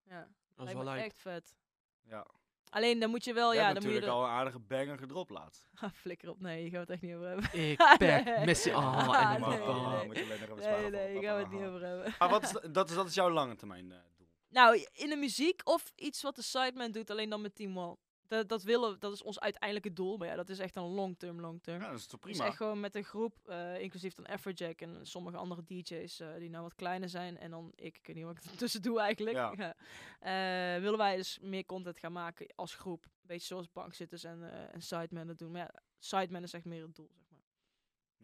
Speaker 2: Ja,
Speaker 3: Dat is
Speaker 2: lijkt
Speaker 3: wel
Speaker 2: me
Speaker 3: lijp.
Speaker 2: echt vet.
Speaker 1: Ja.
Speaker 2: Alleen dan moet je wel,
Speaker 1: Oh,
Speaker 2: ja, dan moet je.
Speaker 1: natuurlijk
Speaker 2: Er...
Speaker 1: al een aardige banger gedropt laatst.
Speaker 2: Ah, flikker op, nee, je gaat het echt niet over
Speaker 1: Oh,
Speaker 2: hebben.
Speaker 3: Ik
Speaker 2: Nee.
Speaker 3: pek, Messi, oh,
Speaker 2: Ah,
Speaker 3: en
Speaker 2: nee,
Speaker 1: maar,
Speaker 3: dan- oh.
Speaker 2: nee.
Speaker 1: moet je alleen nog even
Speaker 2: Nee,
Speaker 1: sparen
Speaker 2: nee,
Speaker 1: voor-
Speaker 2: ik ga het niet
Speaker 1: Ah,
Speaker 2: over hebben.
Speaker 1: Maar wat is, da- dat, is, dat is jouw lange termijn eh, doel?
Speaker 2: Nou, in de muziek of iets wat de sideman doet, alleen dan met Team Wall. Dat, dat, willen, we- dat is ons uiteindelijke doel, maar ja, dat is echt een long-term, long-term.
Speaker 1: Ja, dat is toch
Speaker 2: Dus
Speaker 1: prima?
Speaker 2: echt gewoon met een groep, eh, inclusief dan Afrojack en sommige andere DJ's eh, die nou wat kleiner zijn. En dan ik, ik weet niet wat ik ertussen doe eigenlijk.
Speaker 1: Ja.
Speaker 2: Ja. Eh, willen wij dus meer content gaan maken als groep. Beetje zoals bankzitters en, eh en sidemen dat doen. Maar ja, sidemen is echt meer het doel, zeg maar. Dus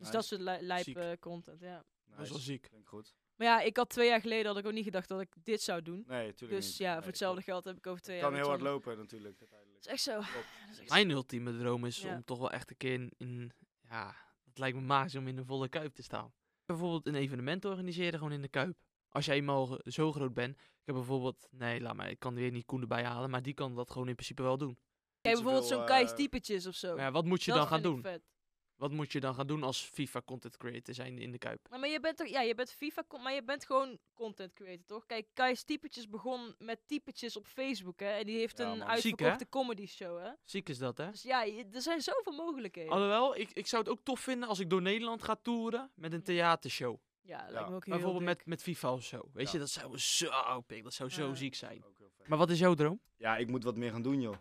Speaker 1: Nice.
Speaker 2: dat soort li- lijp
Speaker 3: Ziek.
Speaker 2: eh, content, ja.
Speaker 3: Dat is wel
Speaker 1: Nice.
Speaker 3: ziek.
Speaker 1: Klinkt goed.
Speaker 2: Maar ja, ik had twee jaar geleden had ik ook niet gedacht dat ik dit zou doen.
Speaker 1: Nee, tuurlijk
Speaker 2: dus
Speaker 1: niet.
Speaker 2: ja,
Speaker 1: Nee,
Speaker 2: voor hetzelfde
Speaker 1: klopt.
Speaker 2: geld heb ik over twee
Speaker 1: Het
Speaker 2: jaar...
Speaker 1: kan heel hard
Speaker 2: weer
Speaker 1: lopen natuurlijk. uiteindelijk.
Speaker 2: twee- Dat is echt zo.
Speaker 1: Klopt.
Speaker 2: Dat is echt zo.
Speaker 3: Mijn ultieme droom is
Speaker 2: Ja.
Speaker 3: om toch wel echt een keer in, in- Ja, het lijkt me magisch om in de volle kuip te staan. Bijvoorbeeld een evenement organiseren gewoon in de kuip. Als jij eenmaal ge- zo groot bent. Ik heb bijvoorbeeld... Nee, laat maar. Ik kan weer niet Koen erbij halen. Maar die kan dat gewoon in principe wel doen.
Speaker 2: Kijk, bijvoorbeeld
Speaker 1: zoveel,
Speaker 2: zo'n
Speaker 1: eh,
Speaker 2: Kai's typetjes of zo.
Speaker 3: Maar ja, wat moet je
Speaker 2: Oh, dat
Speaker 3: dan gaan
Speaker 2: vind ik
Speaker 3: doen?
Speaker 2: vet.
Speaker 3: Wat moet je dan gaan doen als FIFA content creator zijn in de kuip?
Speaker 2: Nou, maar je bent toch, ja, je bent FIFA, con- maar je bent gewoon content creator, toch? Kijk, Kai's typetjes begon met typetjes op Facebook, hè? En die heeft
Speaker 1: Ja,
Speaker 2: een
Speaker 1: man.
Speaker 2: uitverkochte
Speaker 3: Ziek,
Speaker 2: comedy show, hè?
Speaker 3: Ziek is dat, hè?
Speaker 2: Dus ja, je- er zijn zoveel mogelijkheden.
Speaker 3: Alhoewel, ik, ik zou het ook tof vinden als ik door Nederland ga toeren met een theatershow.
Speaker 2: ja, dat
Speaker 1: Ja.
Speaker 2: lijkt me ook heel
Speaker 3: Bijvoorbeeld
Speaker 2: dik.
Speaker 3: met, met FIFA of zo. Weet
Speaker 1: Ja.
Speaker 3: je, dat zou zo pik, dat zou zo
Speaker 2: Ja.
Speaker 3: ziek zijn.
Speaker 1: Ook heel vet.
Speaker 3: Maar wat is jouw droom?
Speaker 1: ja, ik moet wat meer gaan doen, joh.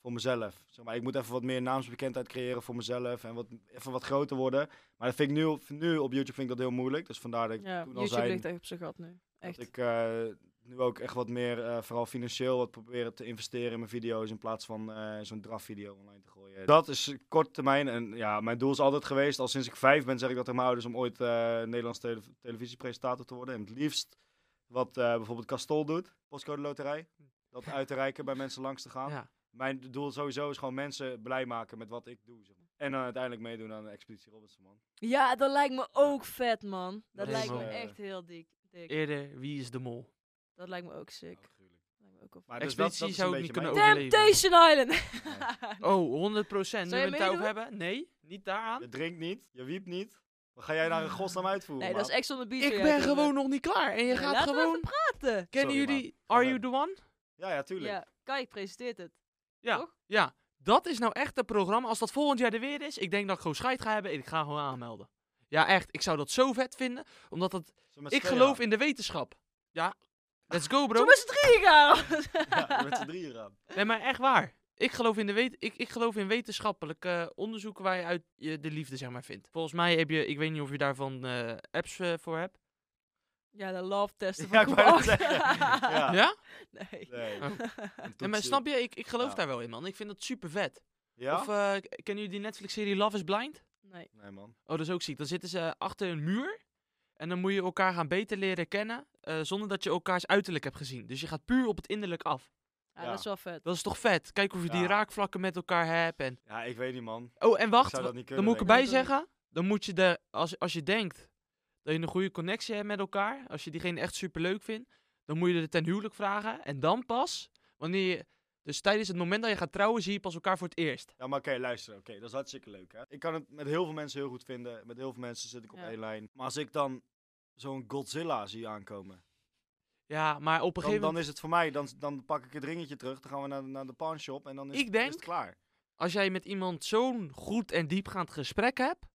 Speaker 1: Voor mezelf. Zeg maar, ik moet even wat meer naamsbekendheid creëren voor mezelf. En wat, even wat groter worden. Maar dat vind ik nu, op- nu op YouTube vind ik dat heel moeilijk. Dus vandaar dat ik
Speaker 2: Ja,
Speaker 1: toen al
Speaker 2: YouTube
Speaker 1: zei
Speaker 2: ligt echt op zijn gat nu. Echt.
Speaker 1: dat ik eh, nu ook echt wat meer, eh, vooral financieel, wat proberen te investeren in mijn video's. In plaats van eh, zo'n drafvideo online te gooien. Dat is kort termijn. En ja, mijn doel is altijd geweest, al sinds ik vijf ben, zeg ik dat tegen mijn ouders, om ooit eh Nederlands tele- televisiepresentator te worden. En het liefst wat eh, bijvoorbeeld Castol doet, postcode loterij. Dat uit te reiken, bij mensen langs te gaan.
Speaker 3: Ja.
Speaker 1: Mijn doel sowieso is gewoon mensen blij maken met wat ik doe. zeg maar. En dan uiteindelijk meedoen aan de Expeditie Robinson, man.
Speaker 2: Ja, dat lijkt me ook vet, man. Dat,
Speaker 3: Dat
Speaker 1: is,
Speaker 2: lijkt me
Speaker 1: eh,
Speaker 2: echt heel dik. dik.
Speaker 3: Eerder, wie is de mol?
Speaker 2: Dat lijkt me ook sick.
Speaker 1: Oh, gruwelijk.
Speaker 2: Dat lijkt me ook ook op.
Speaker 1: Maar dus dat, dat
Speaker 3: Expeditie
Speaker 1: is
Speaker 3: zou
Speaker 1: een
Speaker 3: ik
Speaker 1: beetje
Speaker 3: niet kunnen
Speaker 1: mijn-
Speaker 3: overleven.
Speaker 2: Temptation Island!
Speaker 3: Oh, 100 procent. Nu
Speaker 2: Zou
Speaker 3: we
Speaker 2: je
Speaker 3: het daarover
Speaker 2: meedoen?
Speaker 3: hebben? Nee, niet daaraan.
Speaker 1: Je drinkt niet, je wiept niet. Wat ga jij naar een godsnaam uitvoeren?
Speaker 2: nee, dat is
Speaker 1: maat?
Speaker 2: echt zo'n beat.
Speaker 3: Ik
Speaker 2: waar
Speaker 3: ben
Speaker 2: jij
Speaker 3: gewoon
Speaker 2: tegen-
Speaker 3: nog niet klaar. En je
Speaker 2: Nee,
Speaker 3: gaat
Speaker 2: laten we
Speaker 3: gewoon...
Speaker 2: even praten.
Speaker 3: Kennen
Speaker 1: Sorry,
Speaker 3: jullie
Speaker 1: maar-
Speaker 3: Are You The One?
Speaker 1: Ja, ja, tuurlijk.
Speaker 2: Ja, kijk, presenteert het.
Speaker 3: Ja,
Speaker 2: Toch?
Speaker 3: ja. Dat is nou echt het programma. Als dat volgend jaar er weer is, ik denk dat ik gewoon scheid ga hebben en ik ga gewoon aanmelden. Ja, echt. Ik zou dat zo vet vinden, omdat dat...
Speaker 1: Zullen we met z'n
Speaker 3: Ik
Speaker 1: tweeën
Speaker 3: geloof
Speaker 1: gaan?
Speaker 3: in de wetenschap. Ja, let's go bro.
Speaker 2: Toen met z'n drieën gaan!
Speaker 1: Ja, met z'n drieën gaan.
Speaker 3: Nee, maar echt waar. Ik geloof in, de wet ik, ik geloof in wetenschappelijk eh, onderzoek waar je uit je de liefde zeg maar vindt. Volgens mij heb je, ik weet niet of je daarvan eh, apps eh, voor hebt.
Speaker 2: ja, de love testen van
Speaker 1: Ja, ik
Speaker 2: Koen
Speaker 1: wou
Speaker 2: Bart.
Speaker 1: het zeggen. Ja.
Speaker 3: Ja?
Speaker 2: Nee.
Speaker 1: Nee.
Speaker 3: Oh.
Speaker 1: een
Speaker 3: En maar
Speaker 1: toetsie.
Speaker 3: snap je, ik, ik geloof
Speaker 1: Ja.
Speaker 3: daar wel in man. Ik vind dat super vet.
Speaker 1: Ja?
Speaker 3: Of eh, k- kennen jullie die Netflix serie Love is Blind?
Speaker 2: Nee.
Speaker 1: Nee, man.
Speaker 3: Oh, dat is ook ziek. Dan zitten ze achter een muur. En dan moet je elkaar gaan beter leren kennen. eh, zonder dat je elkaars uiterlijk hebt gezien. Dus je gaat puur op het innerlijk af.
Speaker 2: Ja,
Speaker 1: Ja.
Speaker 2: dat is wel vet.
Speaker 3: Dat is toch vet? Kijk of je die
Speaker 1: Ja.
Speaker 3: raakvlakken met elkaar hebt. En...
Speaker 1: Ja, ik weet niet, man.
Speaker 3: Oh, en
Speaker 1: ik
Speaker 3: wacht.
Speaker 1: zou dat niet
Speaker 3: Dan
Speaker 1: kunnen,
Speaker 3: moet ik
Speaker 1: denk
Speaker 3: erbij
Speaker 2: ik. Dat
Speaker 3: zeggen. Dan moet je de, als, als je denkt dat je een goede connectie hebt met elkaar. Als je diegene echt super leuk vindt. Dan moet je er ten huwelijk vragen. En dan pas, wanneer je... Dus tijdens het moment dat je gaat trouwen, zie je pas elkaar voor het eerst.
Speaker 1: Ja, maar oké, luister. Oké, dat is hartstikke leuk, hè. Ik kan het met heel veel mensen heel goed vinden. Met heel veel mensen zit ik op
Speaker 2: Ja.
Speaker 1: één lijn. Maar als ik dan zo'n Godzilla zie aankomen,
Speaker 3: Ja, maar op een
Speaker 1: dan,
Speaker 3: gegeven
Speaker 1: dan
Speaker 3: moment,
Speaker 1: is het voor mij. Dan, dan pak ik het ringetje terug, dan gaan we naar, de- naar de pawnshop en dan is,
Speaker 3: Ik
Speaker 1: het-
Speaker 3: denk-
Speaker 1: is het klaar.
Speaker 3: als jij met iemand zo'n goed en diepgaand gesprek hebt,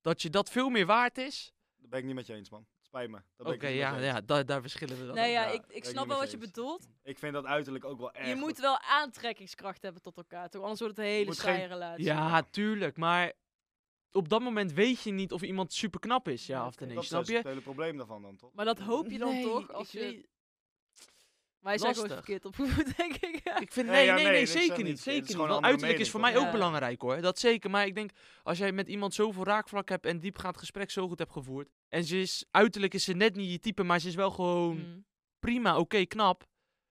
Speaker 3: dat je dat veel meer waard is.
Speaker 1: Dat ben ik niet met je eens, man. Het Spijt me. Dat
Speaker 3: Oké,
Speaker 1: ben ik het niet
Speaker 3: ja,
Speaker 1: met je eens.
Speaker 3: ja da- daar verschillen we dan.
Speaker 2: Nee,
Speaker 3: op.
Speaker 2: ja,
Speaker 1: ja,
Speaker 2: ik,
Speaker 1: ben ik
Speaker 2: ik snap
Speaker 1: niet
Speaker 2: wel
Speaker 1: met
Speaker 2: wat
Speaker 1: je
Speaker 2: je
Speaker 1: eens.
Speaker 2: bedoelt.
Speaker 1: Ik vind dat uiterlijk ook wel erg
Speaker 2: je
Speaker 1: goed.
Speaker 2: moet wel aantrekkingskracht hebben tot elkaar, toch? Anders wordt het een hele
Speaker 1: moet
Speaker 2: saaie
Speaker 1: geen-
Speaker 2: relatie.
Speaker 3: Ja, tuurlijk, maar op dat moment weet je niet of iemand super knap is, ja
Speaker 2: Ja,
Speaker 3: of
Speaker 2: oké.
Speaker 3: nee,
Speaker 1: Dat
Speaker 3: snap
Speaker 1: is dus
Speaker 3: je?
Speaker 1: het hele probleem daarvan dan, toch?
Speaker 2: Maar dat hoop je dan
Speaker 3: Nee,
Speaker 2: toch? Als
Speaker 3: ik
Speaker 2: je...
Speaker 3: weet-
Speaker 2: Wij zijn gewoon
Speaker 3: lastig.
Speaker 2: verkeerd opgevoed, denk ik.
Speaker 3: Ik vind,
Speaker 1: Nee,
Speaker 3: nee,
Speaker 1: ja,
Speaker 3: nee, nee,
Speaker 1: nee, dat is
Speaker 3: zeker
Speaker 1: echt
Speaker 3: niet.
Speaker 1: niet-
Speaker 3: Zeker
Speaker 1: het is
Speaker 3: niet.
Speaker 1: gewoon
Speaker 3: Want
Speaker 1: een andere
Speaker 3: uiterlijk is voor mij
Speaker 1: mening,
Speaker 3: ook
Speaker 2: toch? Ja.
Speaker 3: belangrijk hoor. Dat zeker. Maar ik denk, als jij met iemand zoveel raakvlak hebt en diepgaand gesprek zo goed hebt gevoerd. En ze is, uiterlijk is ze net niet je type, maar ze is wel gewoon
Speaker 2: Mm.
Speaker 3: prima, oké, knap.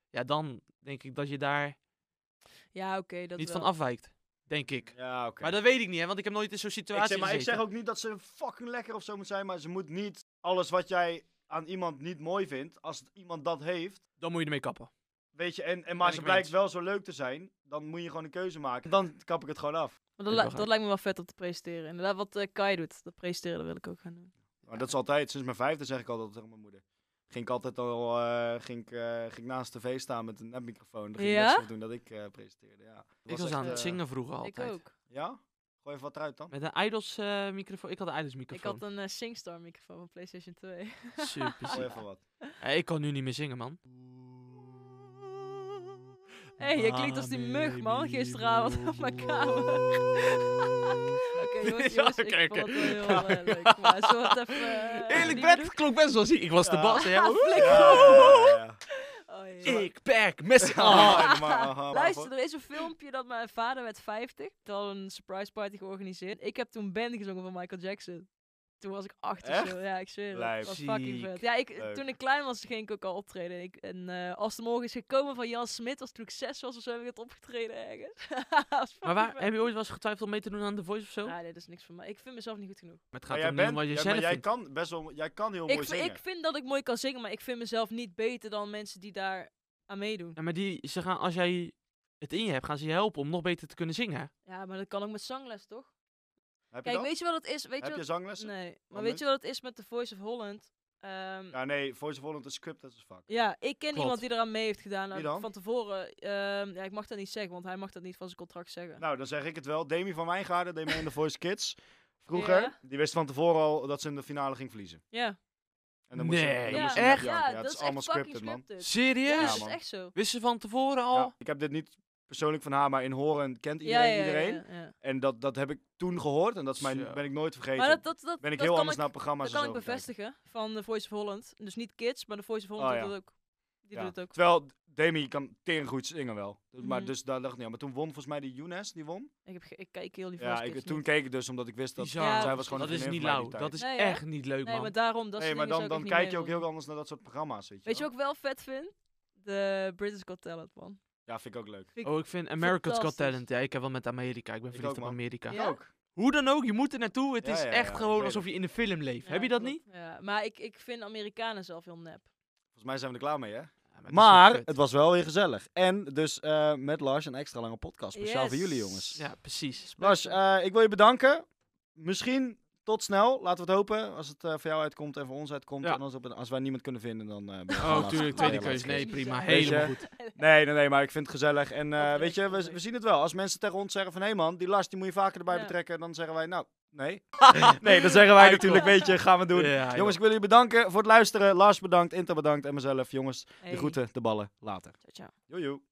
Speaker 3: Ja, dan denk ik dat je daar
Speaker 2: Ja, oké, dat
Speaker 3: niet
Speaker 2: wel.
Speaker 3: van afwijkt. Denk ik.
Speaker 1: Ja, oké.
Speaker 3: Maar dat weet ik niet, hè, want ik heb nooit in zo'n situatie
Speaker 1: Ik zeg, maar ik zeg
Speaker 3: gezeten.
Speaker 1: ook niet dat ze fucking lekker of zo moet zijn, maar ze moet niet alles wat jij aan iemand niet mooi vindt, als het- iemand dat heeft,
Speaker 3: Dan moet je ermee kappen.
Speaker 1: weet je, en, en maar
Speaker 3: Ben
Speaker 1: ze
Speaker 3: ik
Speaker 1: blijkt
Speaker 3: mens.
Speaker 1: wel zo leuk te zijn, dan moet je gewoon een keuze maken. Dan kap ik het gewoon af.
Speaker 2: Maar
Speaker 3: Ik
Speaker 2: dat, li-
Speaker 3: begrijp.
Speaker 2: dat lijkt me wel vet om te presenteren. Inderdaad, wat eh, Kai doet, dat presenteren, dat wil ik ook gaan doen.
Speaker 1: Maar dat is altijd, sinds mijn vijfde zeg ik altijd tegen mijn moeder. Ging ik altijd al, eh, ging, ik, eh, ging ik naast de tv staan met een nepmicrofoon. Dan ging ik
Speaker 2: Ja?
Speaker 1: net zo doen dat ik eh, presenteerde, ja.
Speaker 3: Ik was aan
Speaker 1: echt,
Speaker 3: het
Speaker 1: eh,
Speaker 3: zingen vroeger altijd.
Speaker 2: Ik ook.
Speaker 1: Ja? Gooi even wat eruit dan.
Speaker 3: Met een Idols eh, microfoon. Ik had een Idols
Speaker 2: Ik
Speaker 3: microfoon.
Speaker 2: had een eh, SingStar microfoon van PlayStation 2.
Speaker 3: Super
Speaker 1: Gooi
Speaker 3: ziek.
Speaker 1: even wat.
Speaker 3: Eh, ik kan nu niet meer zingen, man.
Speaker 2: Hey, je klinkt als die mug, man, gisteravond op mijn kamer. Oké, jongens, jongens,
Speaker 3: Ja, oké,
Speaker 2: ik vond
Speaker 3: oké.
Speaker 2: het wel heel eh, leuk. Maar zo het even... eh,
Speaker 3: Eerlijk
Speaker 2: die
Speaker 3: bed,
Speaker 2: bedoel-
Speaker 3: het klonk best wel ziek. Ik was de
Speaker 1: Ja.
Speaker 3: bas. en jij was-
Speaker 1: Ja, ja, ja, ja.
Speaker 2: Oh, ja.
Speaker 3: Ik pak Messi. Ah.
Speaker 1: Ah, maar- ah, maar-
Speaker 2: Oh. Luister, er is een filmpje dat mijn vader werd 50. Toen hadden we een surprise party georganiseerd. Ik heb toen Band gezongen van Michael Jackson. Toen was ik acht of
Speaker 1: Echt?
Speaker 2: zo. Ja, ik zweer het.
Speaker 1: Lijp.
Speaker 2: Dat was fucking
Speaker 3: Ziek.
Speaker 2: vet. Ja, ik,
Speaker 1: Leuk.
Speaker 2: toen ik klein was, ging ik ook al optreden. Ik, en eh, Als de Morgen is gekomen van Jan Smit, was toen ik zes was of zo, heb ik het opgetreden ergens. Dat was
Speaker 3: Maar
Speaker 2: fucking
Speaker 3: waar,
Speaker 2: vet.
Speaker 3: heb je ooit wel eens getwijfeld om mee te doen aan The Voice of zo?
Speaker 2: Ah, nee, dat is niks voor mij. Ik vind mezelf niet goed genoeg.
Speaker 3: Maar
Speaker 1: Maar
Speaker 3: het gaat
Speaker 1: jij
Speaker 3: om niet
Speaker 1: bent,
Speaker 3: om wat je
Speaker 1: jij-
Speaker 3: zelf
Speaker 1: maar jij
Speaker 3: vindt.
Speaker 1: kan best wel, jij kan heel Oh, mooi
Speaker 2: Ik, vind-
Speaker 1: zingen.
Speaker 2: ik vind dat ik mooi kan zingen, maar ik vind mezelf niet beter dan mensen die daar aan meedoen.
Speaker 3: Ja, maar die, ze gaan, als jij het in je hebt, gaan ze je helpen om nog beter te kunnen zingen. hè?
Speaker 2: Ja, maar dat kan ook met zangles, toch?
Speaker 1: Heb je
Speaker 2: Kijk,
Speaker 1: dat?
Speaker 2: weet je wat het is? Weet je
Speaker 1: Heb
Speaker 2: wat
Speaker 1: je zanglessen?
Speaker 2: Nee, maar
Speaker 1: Want
Speaker 2: weet je wat het is met de Voice of Holland? Ehm, ja.
Speaker 1: Ja, Nou, nee, Voice of Holland is scripted as fuck.
Speaker 2: ik ken
Speaker 3: Klopt.
Speaker 2: iemand die eraan mee heeft gedaan.
Speaker 1: Wie
Speaker 2: Nou,
Speaker 1: dan?
Speaker 2: Van tevoren. ehm, ja, ik mag dat niet zeggen, want hij mag dat niet van zijn contract zeggen.
Speaker 1: Nou, dan zeg ik het wel. Demi van Wijngaarden deed mee in de Voice Kids. Vroeger,
Speaker 2: Ja.
Speaker 1: die wist van tevoren al dat ze in de finale ging verliezen.
Speaker 2: ja.
Speaker 1: En dan moest ze-
Speaker 3: Nee,
Speaker 1: dan
Speaker 3: Ja,
Speaker 1: moest ze
Speaker 3: echt?
Speaker 1: net
Speaker 2: Ja,
Speaker 1: janken. Ja,
Speaker 2: dat
Speaker 1: het
Speaker 2: is,
Speaker 1: is allemaal
Speaker 2: echt fucking
Speaker 1: scripted, man.
Speaker 2: scripted. Ja,
Speaker 3: Serieus?
Speaker 2: dat is
Speaker 1: man.
Speaker 2: echt zo.
Speaker 3: Wisten ze van tevoren al?
Speaker 1: Ja, ik heb dit niet persoonlijk van haar, maar in horen kent
Speaker 2: Ja,
Speaker 1: iedereen
Speaker 2: ja, ja,
Speaker 1: iedereen.
Speaker 2: ja, ja.
Speaker 1: En dat, dat heb ik toen gehoord en dat is mijn,
Speaker 3: Zo.
Speaker 1: ben ik nooit vergeten.
Speaker 2: Maar dat, dat, dat,
Speaker 1: ben ik
Speaker 2: dat
Speaker 1: heel
Speaker 2: kan
Speaker 1: anders
Speaker 2: ik,
Speaker 1: naar programma's
Speaker 2: Dat
Speaker 1: en
Speaker 2: kan
Speaker 1: zo
Speaker 2: ik
Speaker 1: gaan kijken.
Speaker 2: bevestigen van de Voice of Holland. Dus niet kids, maar de Voice of Holland
Speaker 1: Oh,
Speaker 2: doet
Speaker 1: ja.
Speaker 2: dat ook. Die
Speaker 1: Ja.
Speaker 2: doet het ook.
Speaker 1: Terwijl Demi kan tering goed zingen wel. Dus, maar
Speaker 2: Mhm.
Speaker 1: dus daar dacht ik niet aan. Maar toen won volgens mij die Younes, die won.
Speaker 2: Ik, heb, ge- ik kijk heel die
Speaker 1: Ja,
Speaker 2: Voice
Speaker 1: ik,
Speaker 2: Kids
Speaker 1: toen
Speaker 2: niet.
Speaker 1: keek ik dus omdat ik wist dat
Speaker 3: Bizar.
Speaker 2: Ja,
Speaker 1: zij was gewoon
Speaker 3: dat
Speaker 1: een
Speaker 3: is niet
Speaker 1: vriendin van mij
Speaker 3: lauw.
Speaker 1: die tijd.
Speaker 3: Dat is
Speaker 2: Nee, ja.
Speaker 3: echt niet leuk,
Speaker 2: Nee,
Speaker 3: man.
Speaker 2: maar daarom, dat is
Speaker 1: Nee,
Speaker 2: het
Speaker 1: maar
Speaker 2: ding,
Speaker 1: dan,
Speaker 2: zou ik
Speaker 1: dan
Speaker 2: het
Speaker 1: kijk
Speaker 2: niet
Speaker 1: je ook
Speaker 2: mee
Speaker 1: heel
Speaker 2: wil.
Speaker 1: anders naar dat soort programma's, weet je
Speaker 2: Weet je
Speaker 1: wel.
Speaker 2: wat ik wel vet vind? De British Got Talent, man.
Speaker 1: Ja, vind ik ook leuk.
Speaker 2: ik-
Speaker 3: Oh, ik vind America's Got
Speaker 2: Fantastisch.
Speaker 3: Talent. Ja, ik heb wel met Amerika. Ik ben
Speaker 1: Ik oh,
Speaker 3: verliefd
Speaker 1: ook,
Speaker 3: op
Speaker 1: man.
Speaker 3: Amerika.
Speaker 2: Ja?
Speaker 1: ook.
Speaker 3: Hoe dan ook, je moet er naartoe. Het
Speaker 1: Ja,
Speaker 3: is
Speaker 1: ja,
Speaker 3: echt
Speaker 1: ja, ik
Speaker 3: gewoon
Speaker 1: weet
Speaker 3: alsof je in een film leeft.
Speaker 2: Ja,
Speaker 3: heb je dat
Speaker 2: klopt.
Speaker 3: niet?
Speaker 2: Ja, maar ik, ik vind Amerikanen zelf heel nep.
Speaker 1: Volgens mij zijn we er klaar mee, hè?
Speaker 3: Ja, het is
Speaker 1: Maar
Speaker 3: wel kut.
Speaker 1: het was wel weer gezellig. En dus eh, met Lars een extra lange podcast. Speciaal voor
Speaker 2: Yes.
Speaker 1: jullie, jongens.
Speaker 3: Ja, precies.
Speaker 1: Lars, eh, ik wil je bedanken. Misschien tot snel. Laten we het hopen. Als het eh, voor jou uitkomt en voor ons uitkomt.
Speaker 3: Ja.
Speaker 1: En als, op een- als wij niemand kunnen vinden, dan... eh, ben je gewoon
Speaker 3: Oh,
Speaker 1: lastig.
Speaker 3: tuurlijk,
Speaker 1: Ben je
Speaker 3: tweede
Speaker 1: lastig.
Speaker 3: keuze.
Speaker 2: Weet
Speaker 3: Nee,
Speaker 2: je-
Speaker 3: prima.
Speaker 1: Weet je-
Speaker 3: Helemaal goed.
Speaker 1: Nee, nee, nee, maar ik vind het gezellig. En eh,
Speaker 2: leuk,
Speaker 1: weet je,
Speaker 2: dat
Speaker 1: we,
Speaker 2: leuk.
Speaker 1: we zien het wel. Als mensen tegen ons zeggen van... Hé hey man, die Lars die moet je vaker erbij
Speaker 2: Ja.
Speaker 1: betrekken. Dan zeggen wij, nou, nee. nee, dan zeggen wij
Speaker 3: Eikel.
Speaker 1: natuurlijk, weet je, gaan we doen.
Speaker 3: Ja, joh.
Speaker 1: Jongens, ik wil jullie bedanken voor het luisteren. Lars bedankt, Inter bedankt en mezelf. Jongens,
Speaker 2: Hey.
Speaker 1: de groeten, de ballen, later.
Speaker 2: Ciao, ciao.
Speaker 1: Joe, joe.